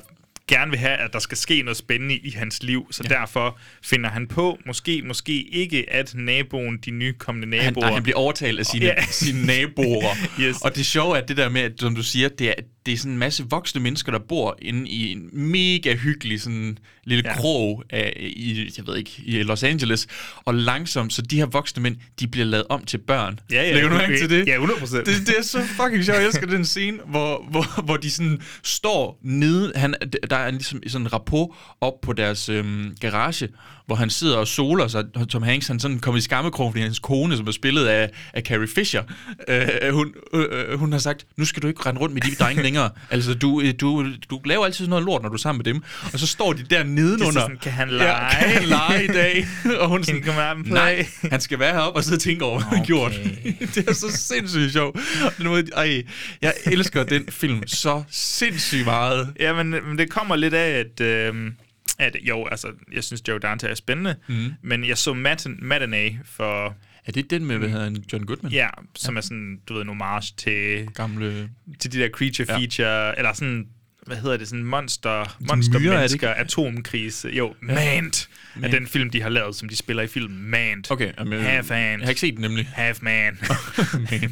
S5: gerne vil have, at der skal ske noget spændende i hans liv, så ja. derfor finder han på, måske, måske ikke, at naboen, de nykommende naboer...
S4: Han, nej, han bliver overtalt af sine,
S5: Ja.
S4: yeah. sine naboer.
S5: Yes.
S4: Og det sjove er det der med, at, som du siger, det er, det er sådan en masse voksne mennesker, der bor inde i en mega hyggelig sådan lille
S5: Ja.
S4: ja. krog af, i, jeg ved ikke, i Los Angeles. Og langsomt, så de her voksne mænd, de bliver lavet om til børn.
S5: Ja, ja.
S4: Lægger du mærke til det?
S5: Ja, 100%.
S4: Det, det er så fucking sjovt. Jeg elsker den scene, hvor, hvor, hvor de sådan står nede. Han, der er ligesom sådan en rapport op på deres øhm, garage, hvor han sidder og soler sig. Tom Hanks, han sådan kommer i skammekrogen, fordi hans kone, som er spillet af, af Carrie Fisher, øh, hun, øh, øh, hun har sagt, nu skal du ikke rende rundt med de drenge længere. Altså, du, øh, du, du laver altid sådan noget lort, når du er sammen med dem. Og så står de der nedenunder.
S5: sådan, "Kan han
S4: Ja, kan
S5: lege?"
S4: han lege i dag? og hun sådan,
S5: come out and play?"
S4: nej, han skal være heroppe og sidde og tænke over, hvad han har gjort. det er så sindssygt sjovt. Den måde, ej, jeg elsker den film så sindssygt meget.
S5: Ja, men, men det kommer lidt af, at... Øh, at jo, altså, jeg synes, Joe Dante er spændende, mm. men jeg så Matin- Matinee for,
S4: Er det den med, hvad hedder han, John Goodman?
S5: ja, som ja. er sådan, du ved, en homage til
S4: Gamle...
S5: til de der creature
S4: Ja.
S5: feature, ja. eller sådan, hvad hedder det, sådan monster, monster
S4: myrer, er det
S5: mennesker, atomkrise. Jo, ja. Mant er den film, de har lavet, som de spiller i filmen. Mant.
S4: Okay, jamen, jeg,
S5: Half Ant.
S4: jeg har ikke set den nemlig.
S5: Half Man.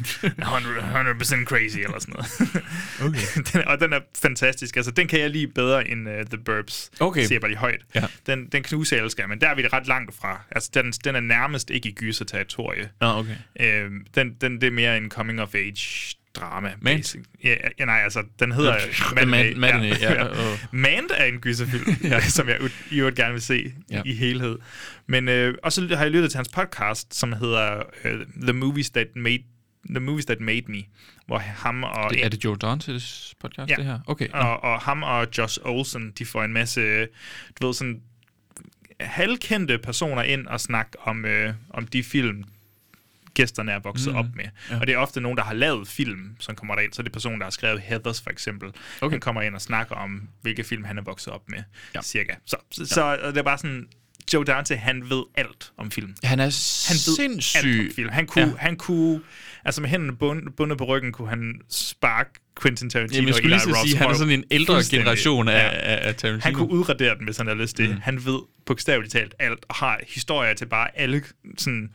S5: 100%, 100% crazy eller sådan noget. Okay. den, og den er fantastisk. Altså, den kan jeg lide bedre end uh, The Burbs.
S4: Okay.
S5: Siger jeg bare lige højt.
S4: Ja.
S5: Den, den knuser jeg elsker, men der er vi ret langt fra. Altså, den, den er nærmest ikke i gyserterritorie.
S4: Nå, okay.
S5: Øh, den, den, det er mere en coming of age drama.
S4: Mant?
S5: basic. Ja, ja, nej, altså, den hedder... Matinee.
S4: Man- Matinee, ja, og-
S5: Mand er en gyserfilm, ja. som jeg ud- i øvrigt gerne vil se
S4: Ja.
S5: ja. i helhed. Men, øh, og så har jeg lyttet til hans podcast, som hedder øh, The, Movies That Made, The Movies That Made Me, hvor ham og...
S4: Det, er det Joe Dantes podcast,
S5: Ja.
S4: det her? Okay. nå.
S5: Og, og ham og Josh Olsen, de får en masse, du ved, sådan halvkendte personer ind og snakke om, øh, om de film, gæsterne er vokset mm. op med. Ja. Og det er ofte nogen, der har lavet film, som kommer derind. Så er det personen, der har skrevet Heathers, for eksempel. Okay. Han kommer ind og snakker om, hvilke film han er vokset op med, ja. cirka. Så, så, ja. så og det er bare sådan, Joe Dante, han ved alt om film
S4: Han er
S5: han ved alt
S4: sindssyg.
S5: om film. Han kunne, ja. han kunne, altså med hænderne bund, bundet på ryggen, kunne han sparke Quentin Tarantino
S4: Jamen, jeg skulle
S5: og
S4: lige
S5: Eli
S4: så sige,
S5: Roth's
S4: han er
S5: røv
S4: sådan en ældre
S5: fuldstændig.
S4: generation af,
S5: Ja.
S4: af, af Tarantino.
S5: Han kunne udradere den, hvis han havde lyst til. Mm. Han ved bogstaveligt talt alt, og har historier til bare alle sådan,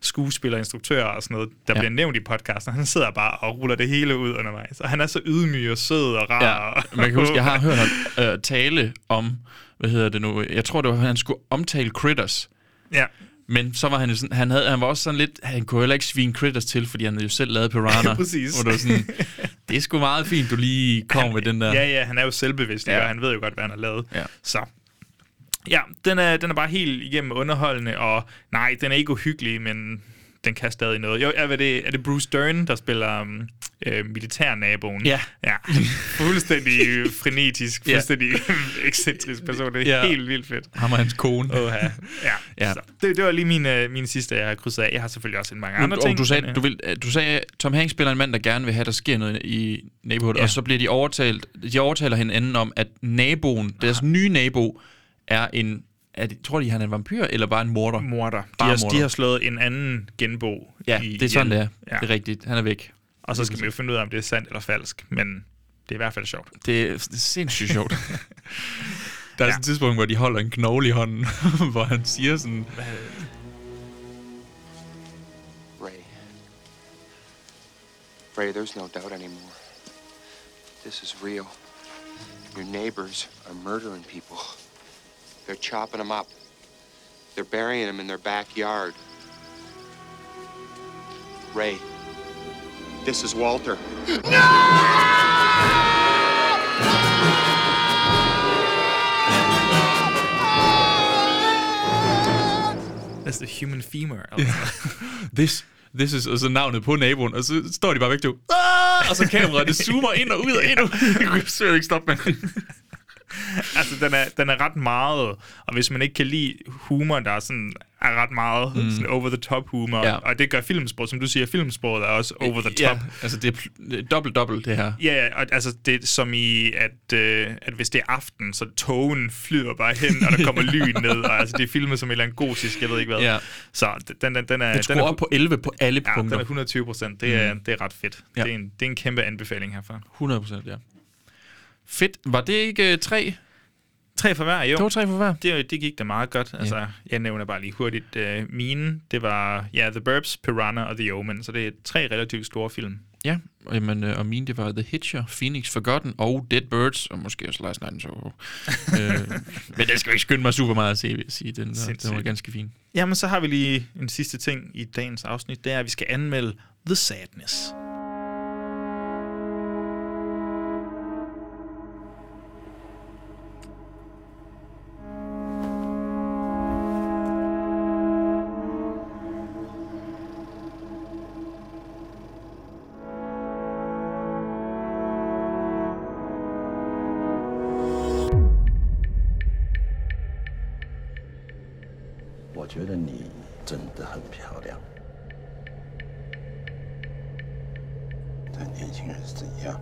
S5: skuespillere, instruktører og sådan noget, der ja.
S4: Ja.
S5: bliver nævnt i podcasten. Han sidder bare og ruller det hele ud undervejs. Og han er så ydmyg og sød og rar.
S4: Ja,
S5: og-
S4: man kan huske, jeg har hørt ham øh, tale om, hvad hedder det nu, jeg tror, det var, han skulle omtale Critters,
S5: Ja.
S4: men så var han jo sådan, han, havde, han var også sådan lidt, han kunne heller ikke svine Critters til, fordi han havde jo selv lavet Piranha.
S5: Præcis.
S4: Hvor det var sådan, det er sgu meget fint, du lige kom med den der.
S5: Ja, ja, han er jo selvbevidst,
S4: Ja.
S5: ja. og han ved jo godt, hvad han har lavet.
S4: Ja.
S5: Så ja, den er, den er bare helt igennem underholdende, og nej, den er ikke uhyggelig, men den kan stadig noget. Jo, er hvad det, er det Bruce Dern, der spiller um, øh, militærnaboen?
S4: Ja.
S5: ja. Fuldstændig frenetisk,
S4: Ja.
S5: fuldstændig ekscentrisk person. Det er
S4: Ja.
S5: ja. helt vildt fedt.
S4: Ham og hans kone.
S5: Oha. Ja,
S4: Ja.
S5: ja. Så, det, det var lige mine, mine sidste, jeg har krydset af. Jeg har selvfølgelig også en mange andre
S4: og
S5: ting.
S4: du
S5: men,
S4: sagde,
S5: øh,
S4: du, vil, du sagde, Tom Hanks spiller en mand, der gerne vil have, der sker noget i nabohood,
S5: Ja.
S4: og så bliver de overtalt, de overtaler hinanden om, at naboen, deres nye nabo, er en, er det, tror de, han er en vampyr, eller bare en morder?
S5: øh, morder. De
S4: Bare
S5: har,
S4: morder.
S5: de har slået en anden genbo
S4: Ja,
S5: i,
S4: det er sådan, det
S5: ihjel.
S4: er. Ja. Det er rigtigt. Han er væk.
S5: Og så skal vi jo finde ud af, om det er sandt eller falsk. Men det er i hvert fald sjovt.
S4: Det er sindssygt sjovt. Der er ja. et tidspunkt, hvor de holder en knogle i hånden, hvor han siger sådan...
S6: Ray. Ray, there's no doubt anymore. This is real. Your neighbors are murdering people. They're chopping them up. They're burying them in their backyard. Ray, this is Walter.
S8: Walter!
S5: a human femur. Altså.
S4: this, this is, og så navnet på naboen, og så står de bare væk to. Ah! Og så kameraet, det zoomer ind og ud og ind og ud. Jeg kunne slet ikke stoppe med
S5: altså, den er, den er ret meget, og hvis man ikke kan lide humor, der er sådan er ret meget mm. sådan over-the-top humor,
S4: Ja.
S5: ja. og det gør filmsproget, som du siger, filmsproget er også over-the-top.
S4: Ja, altså det er pl- det er dobbelt-dobbelt, det her.
S5: Ja, ja, og altså det er som i, at, øh, at hvis det er aften, så togen flyder bare hen, og der kommer lyn ned, og altså det er filmet som et eller andet gotisk, jeg ved ikke hvad.
S4: Ja.
S5: Så d- den, den, den er...
S4: Den
S5: Den
S4: skruer
S5: er,
S4: op på 11 på alle
S5: ja, den
S4: punkter.
S5: er 120 procent. Det, er, det er ret fedt.
S4: Ja.
S5: Ja. Det, er en, det er en kæmpe anbefaling herfra.
S4: 100 procent, ja. Fedt. Var det ikke øh, tre?
S5: Tre for hver, jo.
S4: Det var tre for hver.
S5: Det, det gik da meget godt. Altså, yeah. Jeg nævner bare lige hurtigt øh, mine. Det var ja, The Burbs, Piranha og The Omen, så det er tre relativt store film.
S4: Ja, og, jamen, øh, og mine, det var The Hitcher, Phoenix Forgotten og Dead Birds, og måske også Last Night in Soho. øh, men den skal jo ikke skynde mig super meget at se, vil jeg sige. Den, der, den var
S5: Sindssygt.
S4: ganske fin.
S5: Jamen, så har vi lige en sidste ting i dagens afsnit. Det er, at vi skal anmelde The Sadness.
S10: 我觉得你真的很漂亮。但年轻人是怎样？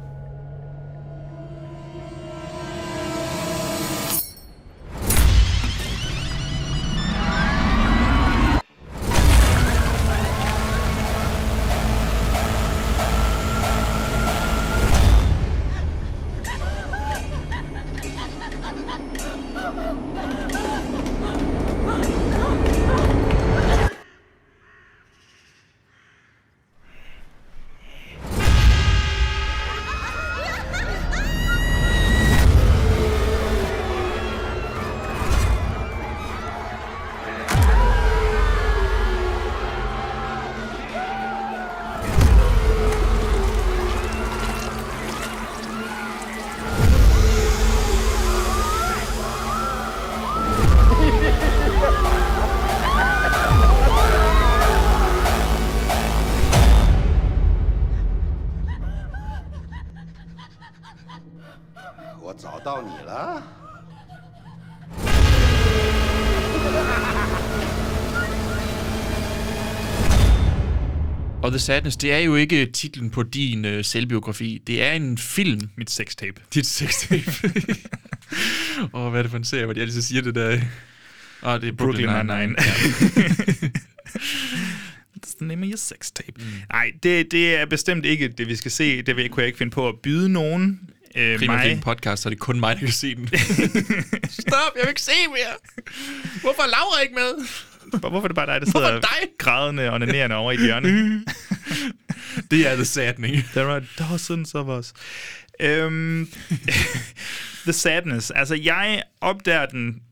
S10: 我找到你了。
S4: Og The Sadness, det er jo ikke titlen på din øh, selvbiografi. Det er en film.
S5: Mit sextape.
S4: Dit sextape. Åh, oh, hvad er det for en serie, hvor de altid siger det der? Åh, oh, det er Brooklyn,
S5: Brooklyn
S4: Nine-Nine.
S5: Nine-Nine. That's the name of your sex
S4: Mm.
S5: tape. Nej, det, det er bestemt ikke det, vi skal se. Det vil- kunne jeg ikke finde på at byde nogen. Øh,
S4: Primært fordi det er en podcast, så det er kun mig, der kan se den. Stop, jeg vil ikke se mere. Hvorfor er Laura ikke med?
S5: Hvor- Hvorfor er det bare dig, der sidder
S4: Hvorfor dig?
S5: grædende og onanerende over i et hjørne?
S4: Det er The Sadning.
S5: There are dozens of us. Øhm, the Sadness. Altså, jeg opdager den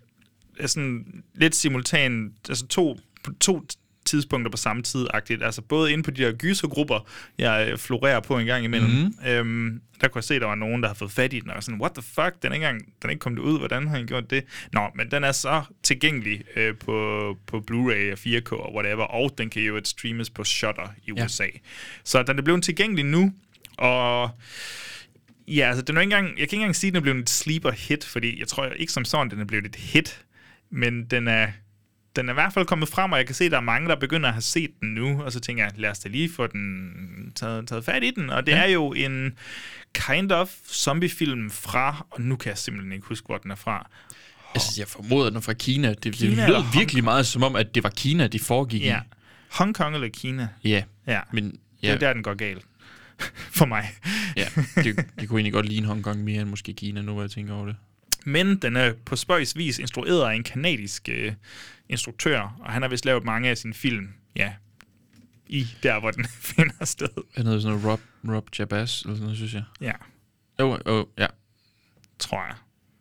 S5: øh, sådan lidt simultant, altså to, på to tidspunkter på samme tid -agtigt. Altså både inde på de der gysergrupper, jeg øh, florerer på en gang imellem. Mm. Øhm, der kunne jeg se, at der var nogen, der havde fået fat i den, og var sådan, what the fuck, den er ikke, engang, den er ikke kommet ud, hvordan har han gjort det? Nå, men den er så tilgængelig øh, på, på Blu-ray og 4K og whatever, og den kan jo streames på Shutter i
S4: Ja.
S5: USA. Så den er blevet tilgængelig nu, og Ja, altså, den er jo ikke engang, jeg kan ikke engang sige, at den er blevet et sleeper hit, fordi jeg tror ikke som sådan, den er blevet et hit, men den er, den er i hvert fald kommet frem, og jeg kan se, at der er mange, der begynder at have set den nu, og så tænker jeg, lad os da lige få den taget, taget fat i den, og det ja. er jo en kind of zombiefilm fra, og nu kan jeg simpelthen ikke huske, hvor den er fra.
S4: Altså, jeg formoder, den er fra Kina. Det, Kina
S5: Kina
S4: det
S5: eller
S4: lød
S5: Hong
S4: virkelig meget som om, at det var Kina, det foregik
S5: Ja.
S4: i.
S5: Hong Kong eller Kina?
S4: Ja.
S5: Ja.
S4: Men
S5: Det
S4: ja,
S5: er der, den går galt. For mig.
S4: ja. Det, det, kunne egentlig godt ligne Hongkong mere end måske Kina, nu hvor jeg tænker over det.
S5: Men den er på spøjs vis instrueret af en kanadisk øh, instruktør, og han har vist lavet mange af sine film, ja, i der, hvor den finder sted.
S4: Han hedder sådan noget Rob, Rob Jabaz, eller sådan noget, synes jeg.
S5: Ja,
S4: Jo, oh, oh, ja.
S5: tror jeg.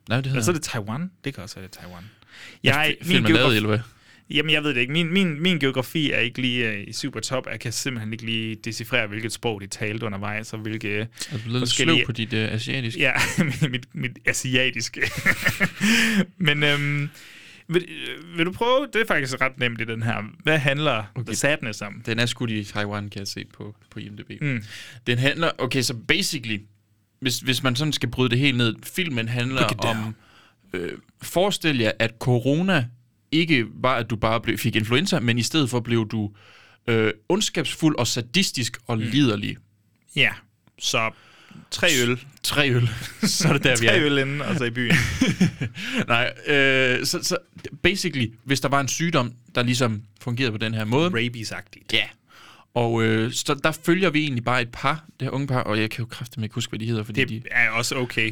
S4: Nej, det hedder
S5: Eller så er det Taiwan. Det kan også være det er Taiwan.
S4: jeg,
S5: Jeg, min
S4: filmen er lavet,
S5: geografi,
S4: eller hvad?
S5: jamen, jeg ved det ikke. Min, min, min geografi er ikke lige øh, i super top. Jeg kan simpelthen ikke lige decifrere, hvilket sprog de talte undervejs, og hvilke...
S4: Er du Altså, lidt sløv
S5: forskellige-
S4: på dit uh, asiatiske?
S5: Ja, mit, mit asiatiske. Men øhm, Vil, øh, vil du prøve? Det er faktisk ret nemt i den her. Hvad handler okay. The Sadness om?
S4: Den er skudt i Taiwan, kan jeg se på, på IMDb. Mm. Den handler... Okay, så basically, hvis, hvis man sådan skal bryde det helt ned, filmen handler
S5: Break it down.
S4: om... Øh, forestil jer, at corona ikke var, at du bare blev, fik influenza, men i stedet for blev du øh, ondskabsfuld og sadistisk og mm. liderlig.
S5: Ja, så tre øl.
S4: Tre øl. så er det der, vi er.
S5: Tre øl inden, og så i byen.
S4: Nej, øh, så, så basically, hvis der var en sygdom, der ligesom fungerede på den her måde.
S5: Rabies-agtigt.
S4: Ja. Og øh, så der følger vi egentlig bare et par, det her unge par, og jeg kan jo kraftigt ikke huske, hvad de hedder, fordi de...
S5: Det er også okay.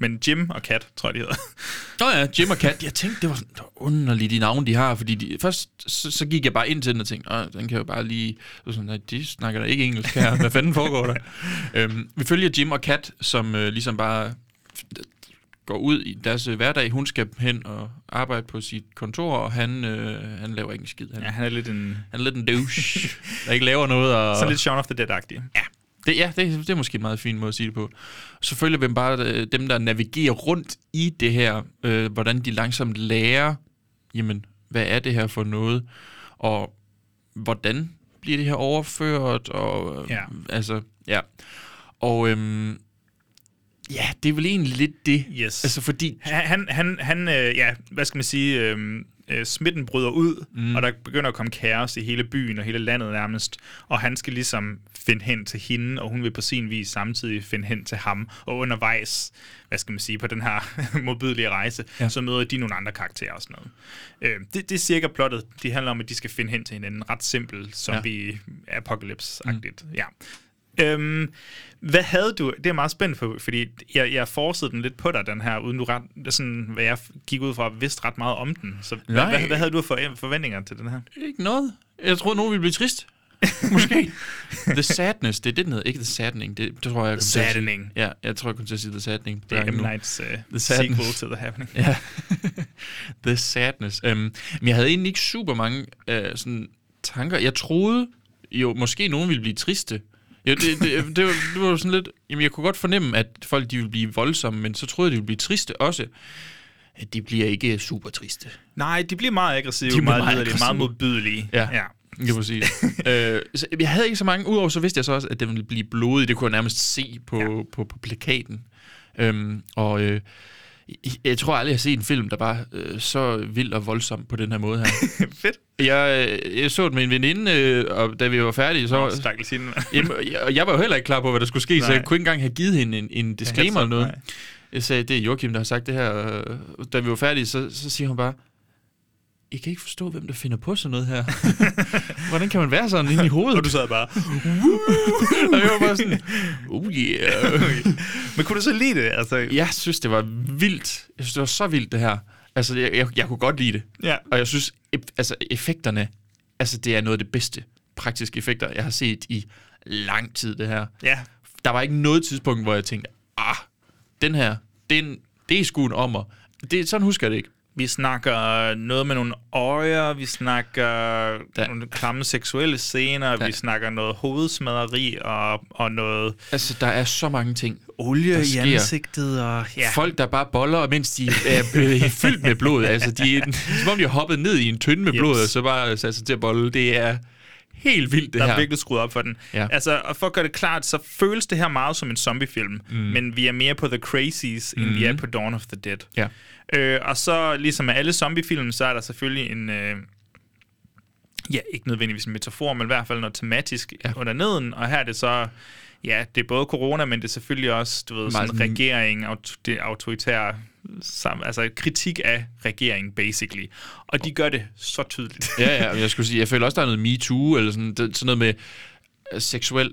S5: Men Jim og Kat, tror jeg, de hedder.
S4: Nå ja, Jim og Kat, jeg tænkte, det var sådan det var underlige de navne, de har, fordi de, først så, så gik jeg bare ind til den og tænkte, Åh, den kan jo bare lige, og sådan, nej, de snakker da ikke engelsk her, hvad fanden foregår der? øhm, vi følger Jim og Kat, som øh, ligesom bare går ud i deres øh, hverdag, hun skal hen og arbejde på sit kontor, og han, øh, han laver ikke en skid, han,
S5: Ja, han er lidt en...
S4: han er lidt en douche, der ikke laver noget, og...
S5: Så lidt Shaun of the Dead-agtig. Ja.
S4: Det, ja, det, det er måske en meget fin måde at sige det på. Selvfølgelig hvem bare øh, dem, der navigerer rundt i det her, øh, hvordan de langsomt lærer, jamen, hvad er det her for noget, og hvordan bliver det her overført, og øh,
S5: Ja.
S4: altså, ja. Og øhm, ja, det er vel egentlig lidt det.
S5: Yes.
S4: Altså fordi,
S5: Han, han, han øh, ja, hvad skal man sige, øh, øh, smitten bryder ud, mm. og der begynder at komme kaos i hele byen og hele landet nærmest, og han skal ligesom finde hen til hende, og hun vil på sin vis samtidig finde hen til ham, og undervejs, hvad skal man sige, på den her modbydelige rejse, ja. så møder de nogle andre karakterer og sådan noget. Øh, det, det er cirka plottet. Det handler om, at de skal finde hen til hinanden. Ret simpelt, som ja. apocalypse-agtigt. Mm. Ja. Øhm, hvad havde du, det er jeg meget spændt på, fordi jeg, jeg forsede den lidt på dig, den her, uden du ret, sådan, hvad jeg gik ud fra, vidste ret meget om den. Så hvad,
S4: Nej.
S5: hvad, hvad havde du for forventninger til den her?
S4: ikke noget. Jeg troede, nogen ville blive trist. Måske. the Sadness, det er det, den hedder. Ikke The Saddening. Det, det tror jeg,
S5: The
S4: jeg kommer til at sige.
S5: Saddening.
S4: Ja, jeg tror, jeg kommer til at sige The Saddening.
S5: Det er M. Nights uh,
S4: Sadness.
S5: sequel to The Happening.
S4: Ja. The sadness. Um, men jeg havde egentlig ikke super mange uh, sådan, tanker. Jeg troede jo, måske nogen ville blive triste. Ja, det, det, det, var, det var sådan lidt... Jamen, jeg kunne godt fornemme, at folk de ville blive voldsomme, men så troede jeg, de ville blive triste også. At de bliver ikke super triste.
S5: Nej, de bliver meget aggressive,
S4: De bliver
S5: meget,
S4: meget
S5: meget, meget
S4: aggressive.
S5: modbydelige.
S4: Ja.
S5: ja.
S4: Kan man sige. øh, så jeg havde ikke så mange. Udover så vidste jeg så også, at den ville blive blodig. Det kunne jeg nærmest se på, ja. på, på plakaten. Øhm, og øh, jeg- jeg tror aldrig, jeg har set en film, der var øh, så vild og voldsom på den her måde her.
S5: Fedt.
S4: Jeg, øh, jeg så den med en veninde, øh, og da vi var færdige, så...
S5: Stakkels hende.
S4: Jamen, jeg, og jeg var jo heller ikke klar på, hvad der skulle ske, Nej. så
S5: Nej.
S4: jeg kunne ikke engang have givet hende en, en disclaimer
S5: heads up,
S4: eller noget.
S5: nej.
S4: Jeg sagde, det er Joachim, der har sagt det her. og Da vi var færdige, så, så siger hun bare, jeg kan ikke forstå, hvem der finder på sådan noget her. Hvordan kan man være sådan inde i hovedet?
S5: Og du sad bare...
S4: og jeg var bare sådan, oh yeah.
S5: Men kunne du så lide det? Altså,
S4: Jeg synes, det var vildt. Jeg synes, det var så vildt, det her. Altså, jeg, jeg, jeg kunne godt lide det.
S5: Ja.
S4: Og jeg synes, eff- altså, effekterne, altså, det er noget af det bedste praktiske effekter, jeg har set i lang tid, det her.
S5: ja.
S4: Der var ikke noget tidspunkt, hvor jeg tænkte, ah, den her, det er, en, det er sgu en ommer. Det, sådan husker jeg det ikke.
S5: Vi snakker noget med nogle øjer, vi snakker
S4: Der-
S5: der. nogle klamme seksuelle scener, der. vi snakker noget hovedsmaderi og, og noget
S4: Altså, der er så mange ting.
S5: olie
S4: Der
S5: i
S4: sker.
S5: ansigtet. Og,
S4: Ja.
S5: ja.
S4: Folk, der bare boller, mens de er blevet fyldt med blod. Altså, de er, som om de har hoppet ned i en tynde med
S5: Jeps.
S4: blod, og så bare sat sig til at bolle. Det er helt vildt, det
S5: der
S4: her.
S5: er virkelig skruet op for den.
S4: Ja.
S5: Altså, og for at gøre det klart, så føles det her meget som en zombiefilm, mm. men vi er mere på The Crazies, end mm. vi er på Dawn of the Dead.
S4: Mm-hmm. Ja.
S5: Øh, og så ligesom med alle zombiefilm, så er der selvfølgelig en... Øh, ja, ikke nødvendigvis en metafor, men i hvert fald noget tematisk
S4: Ja.
S5: ja. under neden. Og her er det så... Ja, det er både corona, men det er selvfølgelig også, du ved, sådan
S4: sådan-
S5: regering, aut- det autoritære, sam- altså kritik af regeringen, basically. Og de gør det så tydeligt.
S4: ja, ja, men jeg skulle sige, jeg føler også, der er noget me too, eller sådan, det, sådan noget med øh, seksuel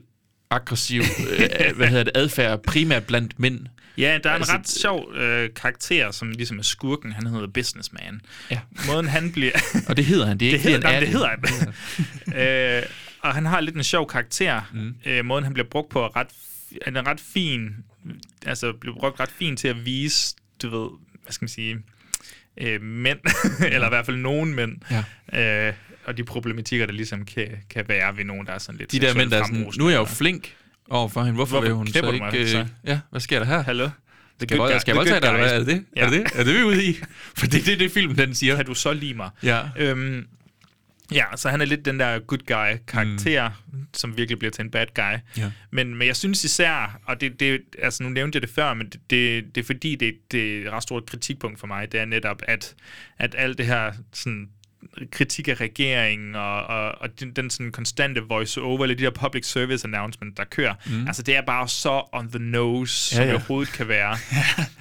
S4: aggressiv øh, hvad hedder det, adfærd, primært blandt mænd.
S5: Ja, der er
S4: Altså,
S5: en ret sjov øh, karakter, som ligesom er skurken. Han hedder Businessman.
S4: Ja.
S5: Måden han bliver...
S4: Og det hedder han, det er
S5: det,
S4: ikke
S5: hedder, nej,
S4: er
S5: det hedder han. øh, og han har lidt en sjov karakter. Mm. Øh, måden han bliver brugt på er ret, f- han er ret fin. Altså bliver brugt ret fint til at vise, du ved, hvad skal man sige, øh, mænd, eller i hvert fald nogen mænd, ja. øh, og de problematikker, der ligesom kan, kan være ved nogen, der er sådan lidt
S4: De der
S5: seksuelt
S4: mænd, der er sådan,
S5: frembrusende.
S4: nu er jeg jo flink overfor hende, hvorfor,
S5: Hvorfor
S4: vil hun så
S5: knipper du
S4: ikke...
S5: mig,
S4: øh,
S5: så?
S4: ja, hvad sker der her?
S5: Hallo? The
S4: Skal jeg vold-
S5: guy-
S4: skal jeg
S5: the
S4: voldtage dig,
S5: good
S4: eller hvad?
S5: guys.
S4: Er det det?
S5: Ja.
S4: Er det det, er det, vi er ude i? For det er det, det film, den siger.
S5: Kan du så lide mig?
S4: Ja.
S5: Øhm, ja, så han er lidt den der good guy-karakter, mm. som virkelig bliver til en bad guy.
S4: Ja.
S5: Men, men jeg synes især, og det, det, altså nu nævnte jeg det før, men det, det, det er fordi, det, det er et ret stort kritikpunkt for mig, det er netop, at, at alt det her sådan, kritik af regeringen og, og, og den, den sådan konstante voice-over, eller de der public service announcement, der kører, mm. altså det er bare så on the nose, ja, som
S4: ja.
S5: ja. overhovedet kan være.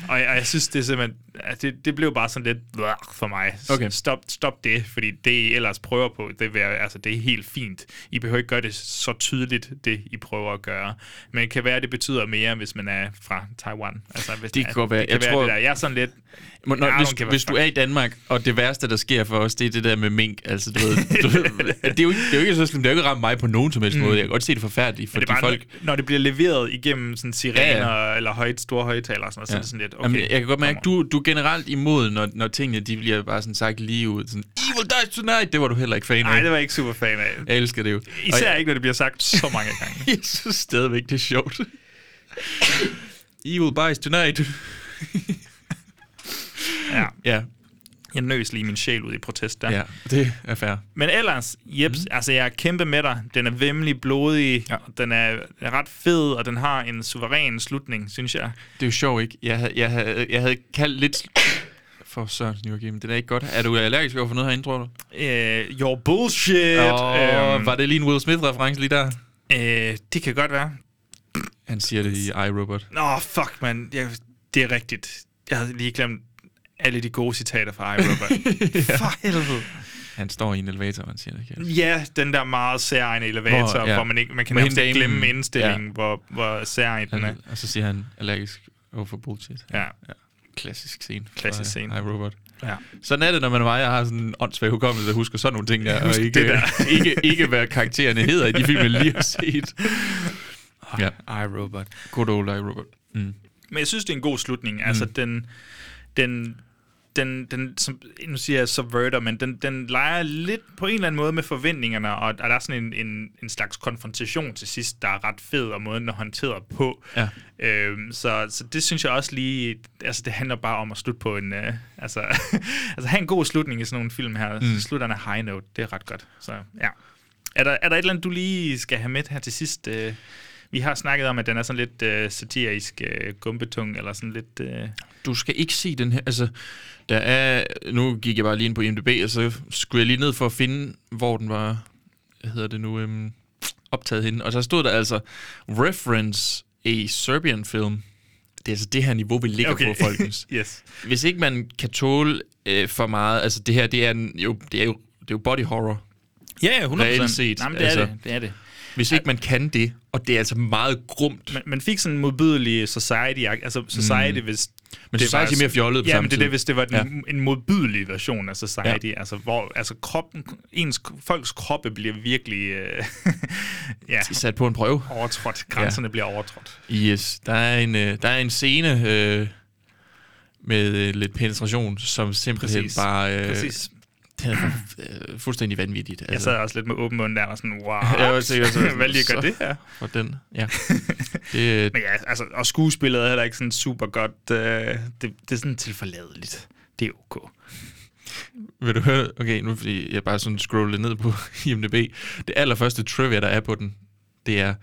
S5: og, jeg, og jeg synes, det er simpelthen, at det, det blev bare sådan lidt "Blah" for mig.
S4: Okay.
S5: Stop, stop det, fordi det, I ellers prøver på, det, vil, jeg- altså, det er helt fint. I behøver ikke gøre det så tydeligt, det I prøver at gøre. Men det kan være, det betyder mere, hvis man er fra Taiwan. Altså, hvis
S4: Det kan godt være.
S5: Det kan
S4: Jeg
S5: være
S4: tror-
S5: det der. Jeg er sådan lidt...
S4: Men
S5: I
S4: når,
S5: don't
S4: hvis,
S5: give a
S4: hvis du
S5: fuck.
S4: er i Danmark, og det værste, der sker for os, det er det der med mink. Altså, du ved, du, ved, det, er jo, ikke- det er jo ikke så slemt. Det er jo ikke ramt mig på nogen som helst måde. Jeg kan godt se Mm. det forfærdeligt for
S5: Men
S4: de
S5: det er bare,
S4: folk.
S5: folk... når det bliver leveret igennem sådan sirener ja, ja. eller højt, store højtaler, og sådan, noget, så er det sådan lidt, okay.
S4: Jamen, jeg kan godt mærke,
S5: come on.
S4: du, du er generelt imod, når, når tingene de bliver bare sådan sagt lige ud. Sådan, Evil dies tonight! Det var du heller ikke fan af.
S5: Nej, det var jeg ikke super fan af.
S4: Jeg elsker det jo.
S5: Især
S4: og
S5: ikke, når det bliver sagt så mange gange.
S4: jeg, jeg synes stadigvæk, det er sjovt. Evil dies tonight.
S5: Ja.
S4: ja,
S5: Jeg nøs lige min sjæl ud i protest der.
S4: ja, det er fair.
S5: Men ellers, jeps, mm. altså jeg er kæmpe med dig. Den er vemmelig blodig, ja. den er ret fed, og den har en suveræn slutning, synes jeg.
S4: Det er jo sjovt, ikke? Jeg havde, jeg havde, jeg havde kaldt lidt... For søren, Joachim, det er ikke godt. Er du allergisk over for noget herinde, tror du?
S5: Øh, your bullshit!
S4: Åh,
S5: Øhm,
S4: var det lige en Will Smith-reference lige der?
S5: øh, det kan godt være.
S4: Han siger det i iRobot.
S5: Nå, fuck, man. Jeg, det er rigtigt. Jeg havde lige glemt alle de gode citater fra iRobot. For helvede.
S4: Han står i en elevator, og han siger det. Kan jeg-
S5: Ja, den der meget særegne elevator,
S4: Hvor-
S5: hvor,
S4: ja.
S5: ja. hvor man, ikke, man kan
S4: Med
S5: nærmest
S4: hende
S5: ikke
S4: damen.
S5: glemme indstillingen, ja. hvor, hvor særegne den er.
S4: han, og så siger han allergisk over for bullshit.
S5: Ja.
S4: Klassisk scene. fra
S5: Klassisk scene.
S4: iRobot.
S5: ja.
S4: Sådan er det, når man er mig, jeg har sådan en åndssvag hukommelse, der husker sådan nogle ting der, og ikke,
S5: det
S4: der.
S5: der.
S4: ikke, ikke hvad karaktererne hedder i de film, jeg lige har set. Ja,
S5: iRobot.
S4: good old iRobot. Mm.
S5: Men jeg synes, det er en god slutning. Altså, den, den, den, den som, nu siger jeg subverter, men den, den leger lidt på en eller anden måde med forventningerne, og, og der er sådan en, en, en slags konfrontation til sidst, der er ret fed, og måden den er håndteret på.
S4: Ja.
S5: Øhm, så, så det synes jeg også lige, altså det handler bare om at slutte på en, øh, altså, altså have en god slutning i sådan nogle film her. Mm. Slutterne high note, det er ret godt. Så ja. Er der, er der et eller andet, du lige skal have med her til sidst? Øh, vi har snakket om, at den er sådan lidt øh, satirisk øh, gumbetung, eller sådan lidt... Øh,
S4: du skal ikke se den her, altså, der er, nu gik jeg bare lige ind på IMDb, og så skulle jeg lige ned for at finde, hvor den var, hvad hedder det nu, øhm, optaget henne, og så stod der altså, reference a Serbian film, det er altså det her niveau, vi ligger okay. på, folkens.
S5: yes.
S4: Hvis ikke man kan tåle øh, for meget, altså det her, det er, en, jo, det er jo, det er jo body horror.
S5: Ja, ja, 100%.
S4: Reelt set,
S5: Nej, men det, altså.
S4: altså.
S5: er det, det er det.
S4: Hvis ikke man kan det, og det er altså meget grumt.
S5: Man, man fik sådan en modbydelig society altså society, mm. hvis...
S4: Men Society er mere fjollet på
S5: Ja,
S4: samme
S5: men det er
S4: tid.
S5: det, hvis det var den,
S4: Ja.
S5: ja. en modbydelig version af society, ja. altså hvor altså kroppen, ens, folks kroppe bliver virkelig øh, ja,
S4: Sat på en prøve.
S5: overtrådt, grænserne ja. bliver overtrådt.
S4: Yes, der er en, øh, der er en scene øh, med øh, lidt penetration, som simpelthen
S5: Præcis.
S4: bare... Øh,
S5: Præcis.
S4: Det er fu- øh, fuldstændig vanvittigt. altså,
S5: Jeg sad også lidt med åben mund der, og sådan, wow,
S4: Jeg var sikkert sådan,
S5: hvad lige gør
S4: så-
S5: det her?
S4: Og den, ja. Det, øh,
S5: Men ja, altså, og skuespillet er heller ikke sådan super godt. Øh, det, det er sådan tilforladeligt. Det er okay.
S4: vil du høre? Okay, nu fordi jeg bare sådan scrollede ned på IMDb. Det allerførste trivia, der er på den, det er,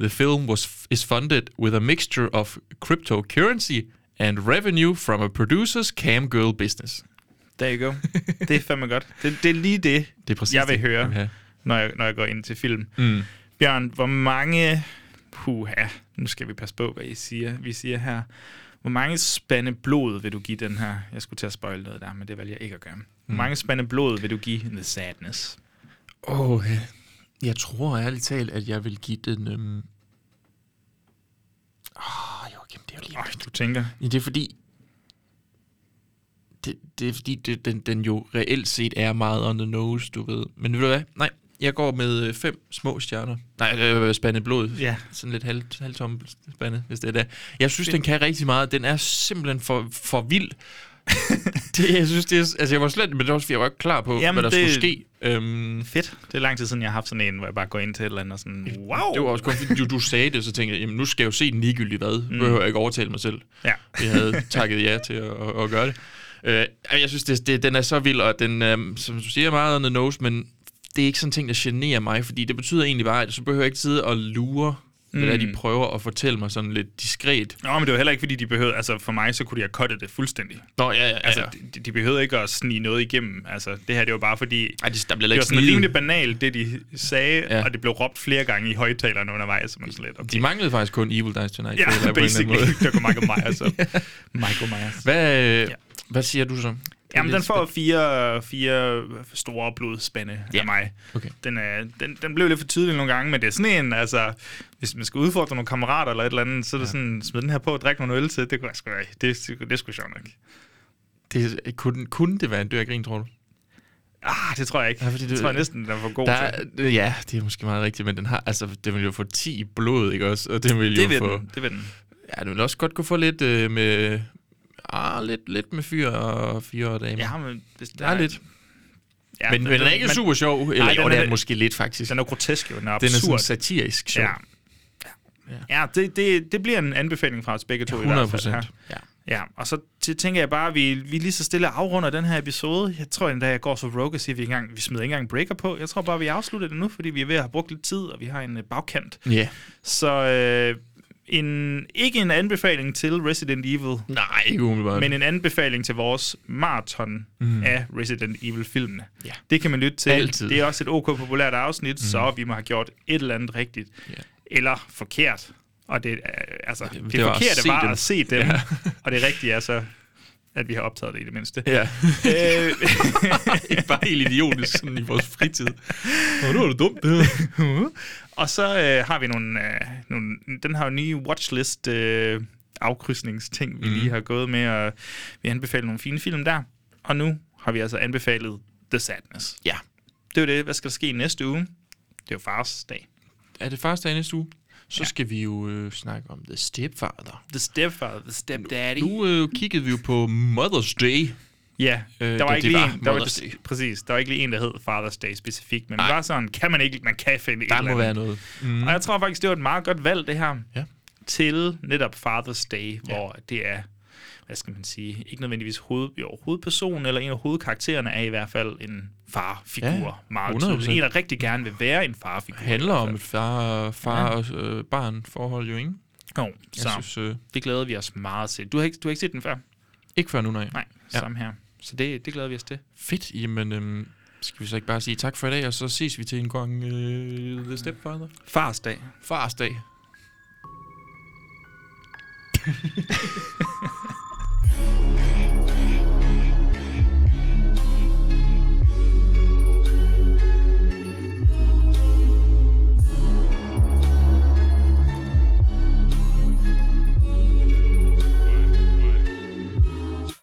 S4: The film was is funded with a mixture of cryptocurrency and revenue from a producer's cam girl business.
S5: There you go. Det er fandme godt. Det, det er lige det,
S4: Det er præcis
S5: jeg vil
S4: det,
S5: høre,
S4: jeg vil have.
S5: når, jeg, når jeg går ind til film.
S4: Mm.
S5: Bjørn, hvor mange... Puha, nu skal vi passe på, hvad I siger, vi siger her. Hvor mange spande blod vil du give den her? Jeg skulle til at spoil noget der, men det valgte jeg ikke at gøre.
S4: Mm.
S5: Hvor mange spande blod vil du give The Sadness?
S4: Åh, oh, jeg tror ærligt talt, at jeg vil give den... Øhm... Oh, Joachim, det er jo lige...
S5: Øj, du tænker.
S4: Ja, det er fordi... Det, det er fordi, det, den, den jo reelt set er meget on the nose, du ved. Men ved du hvad? Nej, jeg går med øh, fem små stjerner. Nej, øh, spande blod.
S5: Ja.
S4: Sådan lidt halv, halvtomme spande, hvis det er det. Jeg synes, den kan rigtig meget. Den er simpelthen for, for vild. det, jeg synes, det er... Altså, jeg var slet... Men det var også, fordi jeg var ikke klar på, Jamen, hvad der det... skulle ske. Øhm,
S5: Fedt. Det er lang tid siden, jeg har haft sådan en, hvor jeg bare går ind til et eller andet og sådan, wow.
S4: det var også kun, fordi du, du sagde det, så tænkte jeg, jamen nu skal jeg jo se den ligegyldigt hvad. Nu behøver jeg ikke overtale mig selv.
S5: Mm. Ja.
S4: Jeg havde takket ja til at, at, at gøre det. Øh, jeg synes, det, det, den er så vild, og den, øh, som du siger, er meget on the nose, men det er ikke sådan en ting, der generer mig, fordi det betyder egentlig bare, at så behøver jeg ikke sidde og lure, mm. hvad det er, de prøver at fortælle mig sådan lidt diskret.
S5: Nå, men det var heller ikke, fordi de behøvede... Altså, for mig, så kunne de have cuttet det fuldstændig.
S4: Nå, ja, ja, ja.
S5: Altså,
S4: Altså,
S5: de, de behøvede ikke at snige noget igennem. Altså, det her, det var bare fordi...
S4: Ej, det- der blev
S5: det
S4: ikke
S5: var sådan
S4: sniget.
S5: rimelig banalt, det de sagde,
S4: Ja.
S5: ja. og det blev råbt flere gange i højtalerne undervejs. Så man sådan lidt, okay.
S4: de manglede faktisk kun Evil Dice Tonight. føler jeg på en
S5: ja, basically.
S4: eller anden måde.
S5: det var Michael Myers. Og Michael Myers.
S4: Hvad, øh, ja. hvad siger du så?
S5: Jamen, den får fire, fire store blodspænde ja.
S4: Ja.
S5: af mig.
S4: Okay.
S5: Den, er, den, den blev lidt for tydelig nogle gange, men det er sådan en, altså, hvis man skal udfordre nogle kammerater eller et eller andet, så er det sådan, smid den her på og drik nogle øl til, det kunne jeg sgu, det, det, det er sgu sjovt nok.
S4: Det, kunne, kunne det være en dør af grin, tror du?
S5: Ah, det tror jeg ikke.
S4: Ja,
S5: Ja,
S4: fordi
S5: det,
S4: det-
S5: det tror jeg næsten, den er for god
S4: Der,
S5: til.
S4: er- ja, det er måske meget rigtigt, men den har, altså, den vil jo få 10 i blod, ikke også? Og den vil jo
S5: Det vil
S4: få...
S5: den, det vil den.
S4: Ja, den vil også godt kunne få lidt øh, med... Ah, lidt, lidt med fyr og fyre og damer.
S5: Ja, men hvis
S4: der er lidt.
S5: Ja,
S4: men, men den er ikke super sjov. Eller,
S5: Nej,
S4: jo,
S5: den
S4: det
S5: er-
S4: er den måske lidt, faktisk.
S5: Den er grotesk jo, den er
S4: den er
S5: absurd.
S4: sådan satirisk sjov.
S5: ja. Ja, det, det, det bliver en anbefaling fra os begge to
S4: 100
S5: i hvert fald.
S4: procent.
S5: her.
S4: Ja.
S5: Ja, og så t- tænker jeg bare, at vi, vi lige så stille afrunder den her episode. Jeg tror endda, jeg går så rogue og siger, at vi, ikke engang, vi smider ikke engang en breaker på. Jeg tror bare, vi afslutter det nu, fordi vi er ved at have brugt lidt tid, og vi har en øh, bagkant.
S4: Ja.
S5: Så øh, en, ikke en anbefaling til Resident Evil,
S4: Nej, ikke umiddelbart.
S5: men en anbefaling til vores maraton mm. af Resident Evil-filmene.
S4: Ja.
S5: Det kan man lytte til.
S4: Altid.
S5: Det er også et ok populært afsnit, mm. så vi må have gjort et eller andet rigtigt.
S4: Ja.
S5: Eller forkert. Og det, øh, altså, det,
S4: det
S5: det
S4: var at
S5: forkerte
S4: se
S5: var
S4: dem.
S5: at se dem, ja. og det rigtige er så, at vi har optaget det i det mindste.
S4: Ja.
S5: Øh,
S4: Ikke bare helt idiotisk sådan i vores fritid. Nå, nu er det dumt.
S5: og så øh, har vi nogle, øh, nogle, den her nye watchlist øh, afkrydsningsting, vi mm.
S4: Mhm.
S5: lige har gået med, og vi anbefaler nogle fine film der. Og nu har vi altså anbefalet The Sadness.
S4: Ja.
S5: Det er jo det. Hvad skal der ske i næste uge? Det er jo fars dag.
S4: Er det første dag i næste uge? Så ja. skal vi jo øh, snakke om The Stepfather.
S5: The Stepfather, The Stepdaddy.
S4: Nu øh, kiggede vi jo på Mother's Day.
S5: Ja,
S4: Øh,
S5: der
S4: da
S5: var ikke
S4: det
S5: lige
S4: var
S5: en, der var,
S4: Mother's Day.
S5: præcis, der var ikke lige en, der hed Father's Day specifikt, men
S4: Nej.
S5: det var sådan, kan man ikke, man kan finde et
S4: Der
S5: eller
S4: må være
S5: andet.
S4: noget.
S5: Mm. Og jeg tror faktisk, det var et meget godt valg, det her,
S4: Ja.
S5: til netop Father's Day, hvor det er, hvad skal man sige, ikke nødvendigvis hoved, jo, hovedpersonen, eller en af hovedkaraktererne er i hvert fald en farfigur,
S4: Ja,
S5: ja, meget
S4: 100%.
S5: tydeligt. En, der rigtig gerne vil være en farfigur.
S4: handler om et far, far ja. og øh, barn forhold jo, ikke?
S5: Jo,
S4: Jeg
S5: så
S4: synes, øh,
S5: det glæder vi os meget til. Du har ikke, du har ikke set den før?
S4: ikke før nu, nej.
S5: Nej,
S4: Ja.
S5: ja. samme her. Så det, det glæder vi os til.
S4: Fedt, jamen øh, skal vi så ikke bare sige tak for i dag, og så ses vi til en gang øh, The Stepfather.
S5: Fars dag.
S4: Fars dag.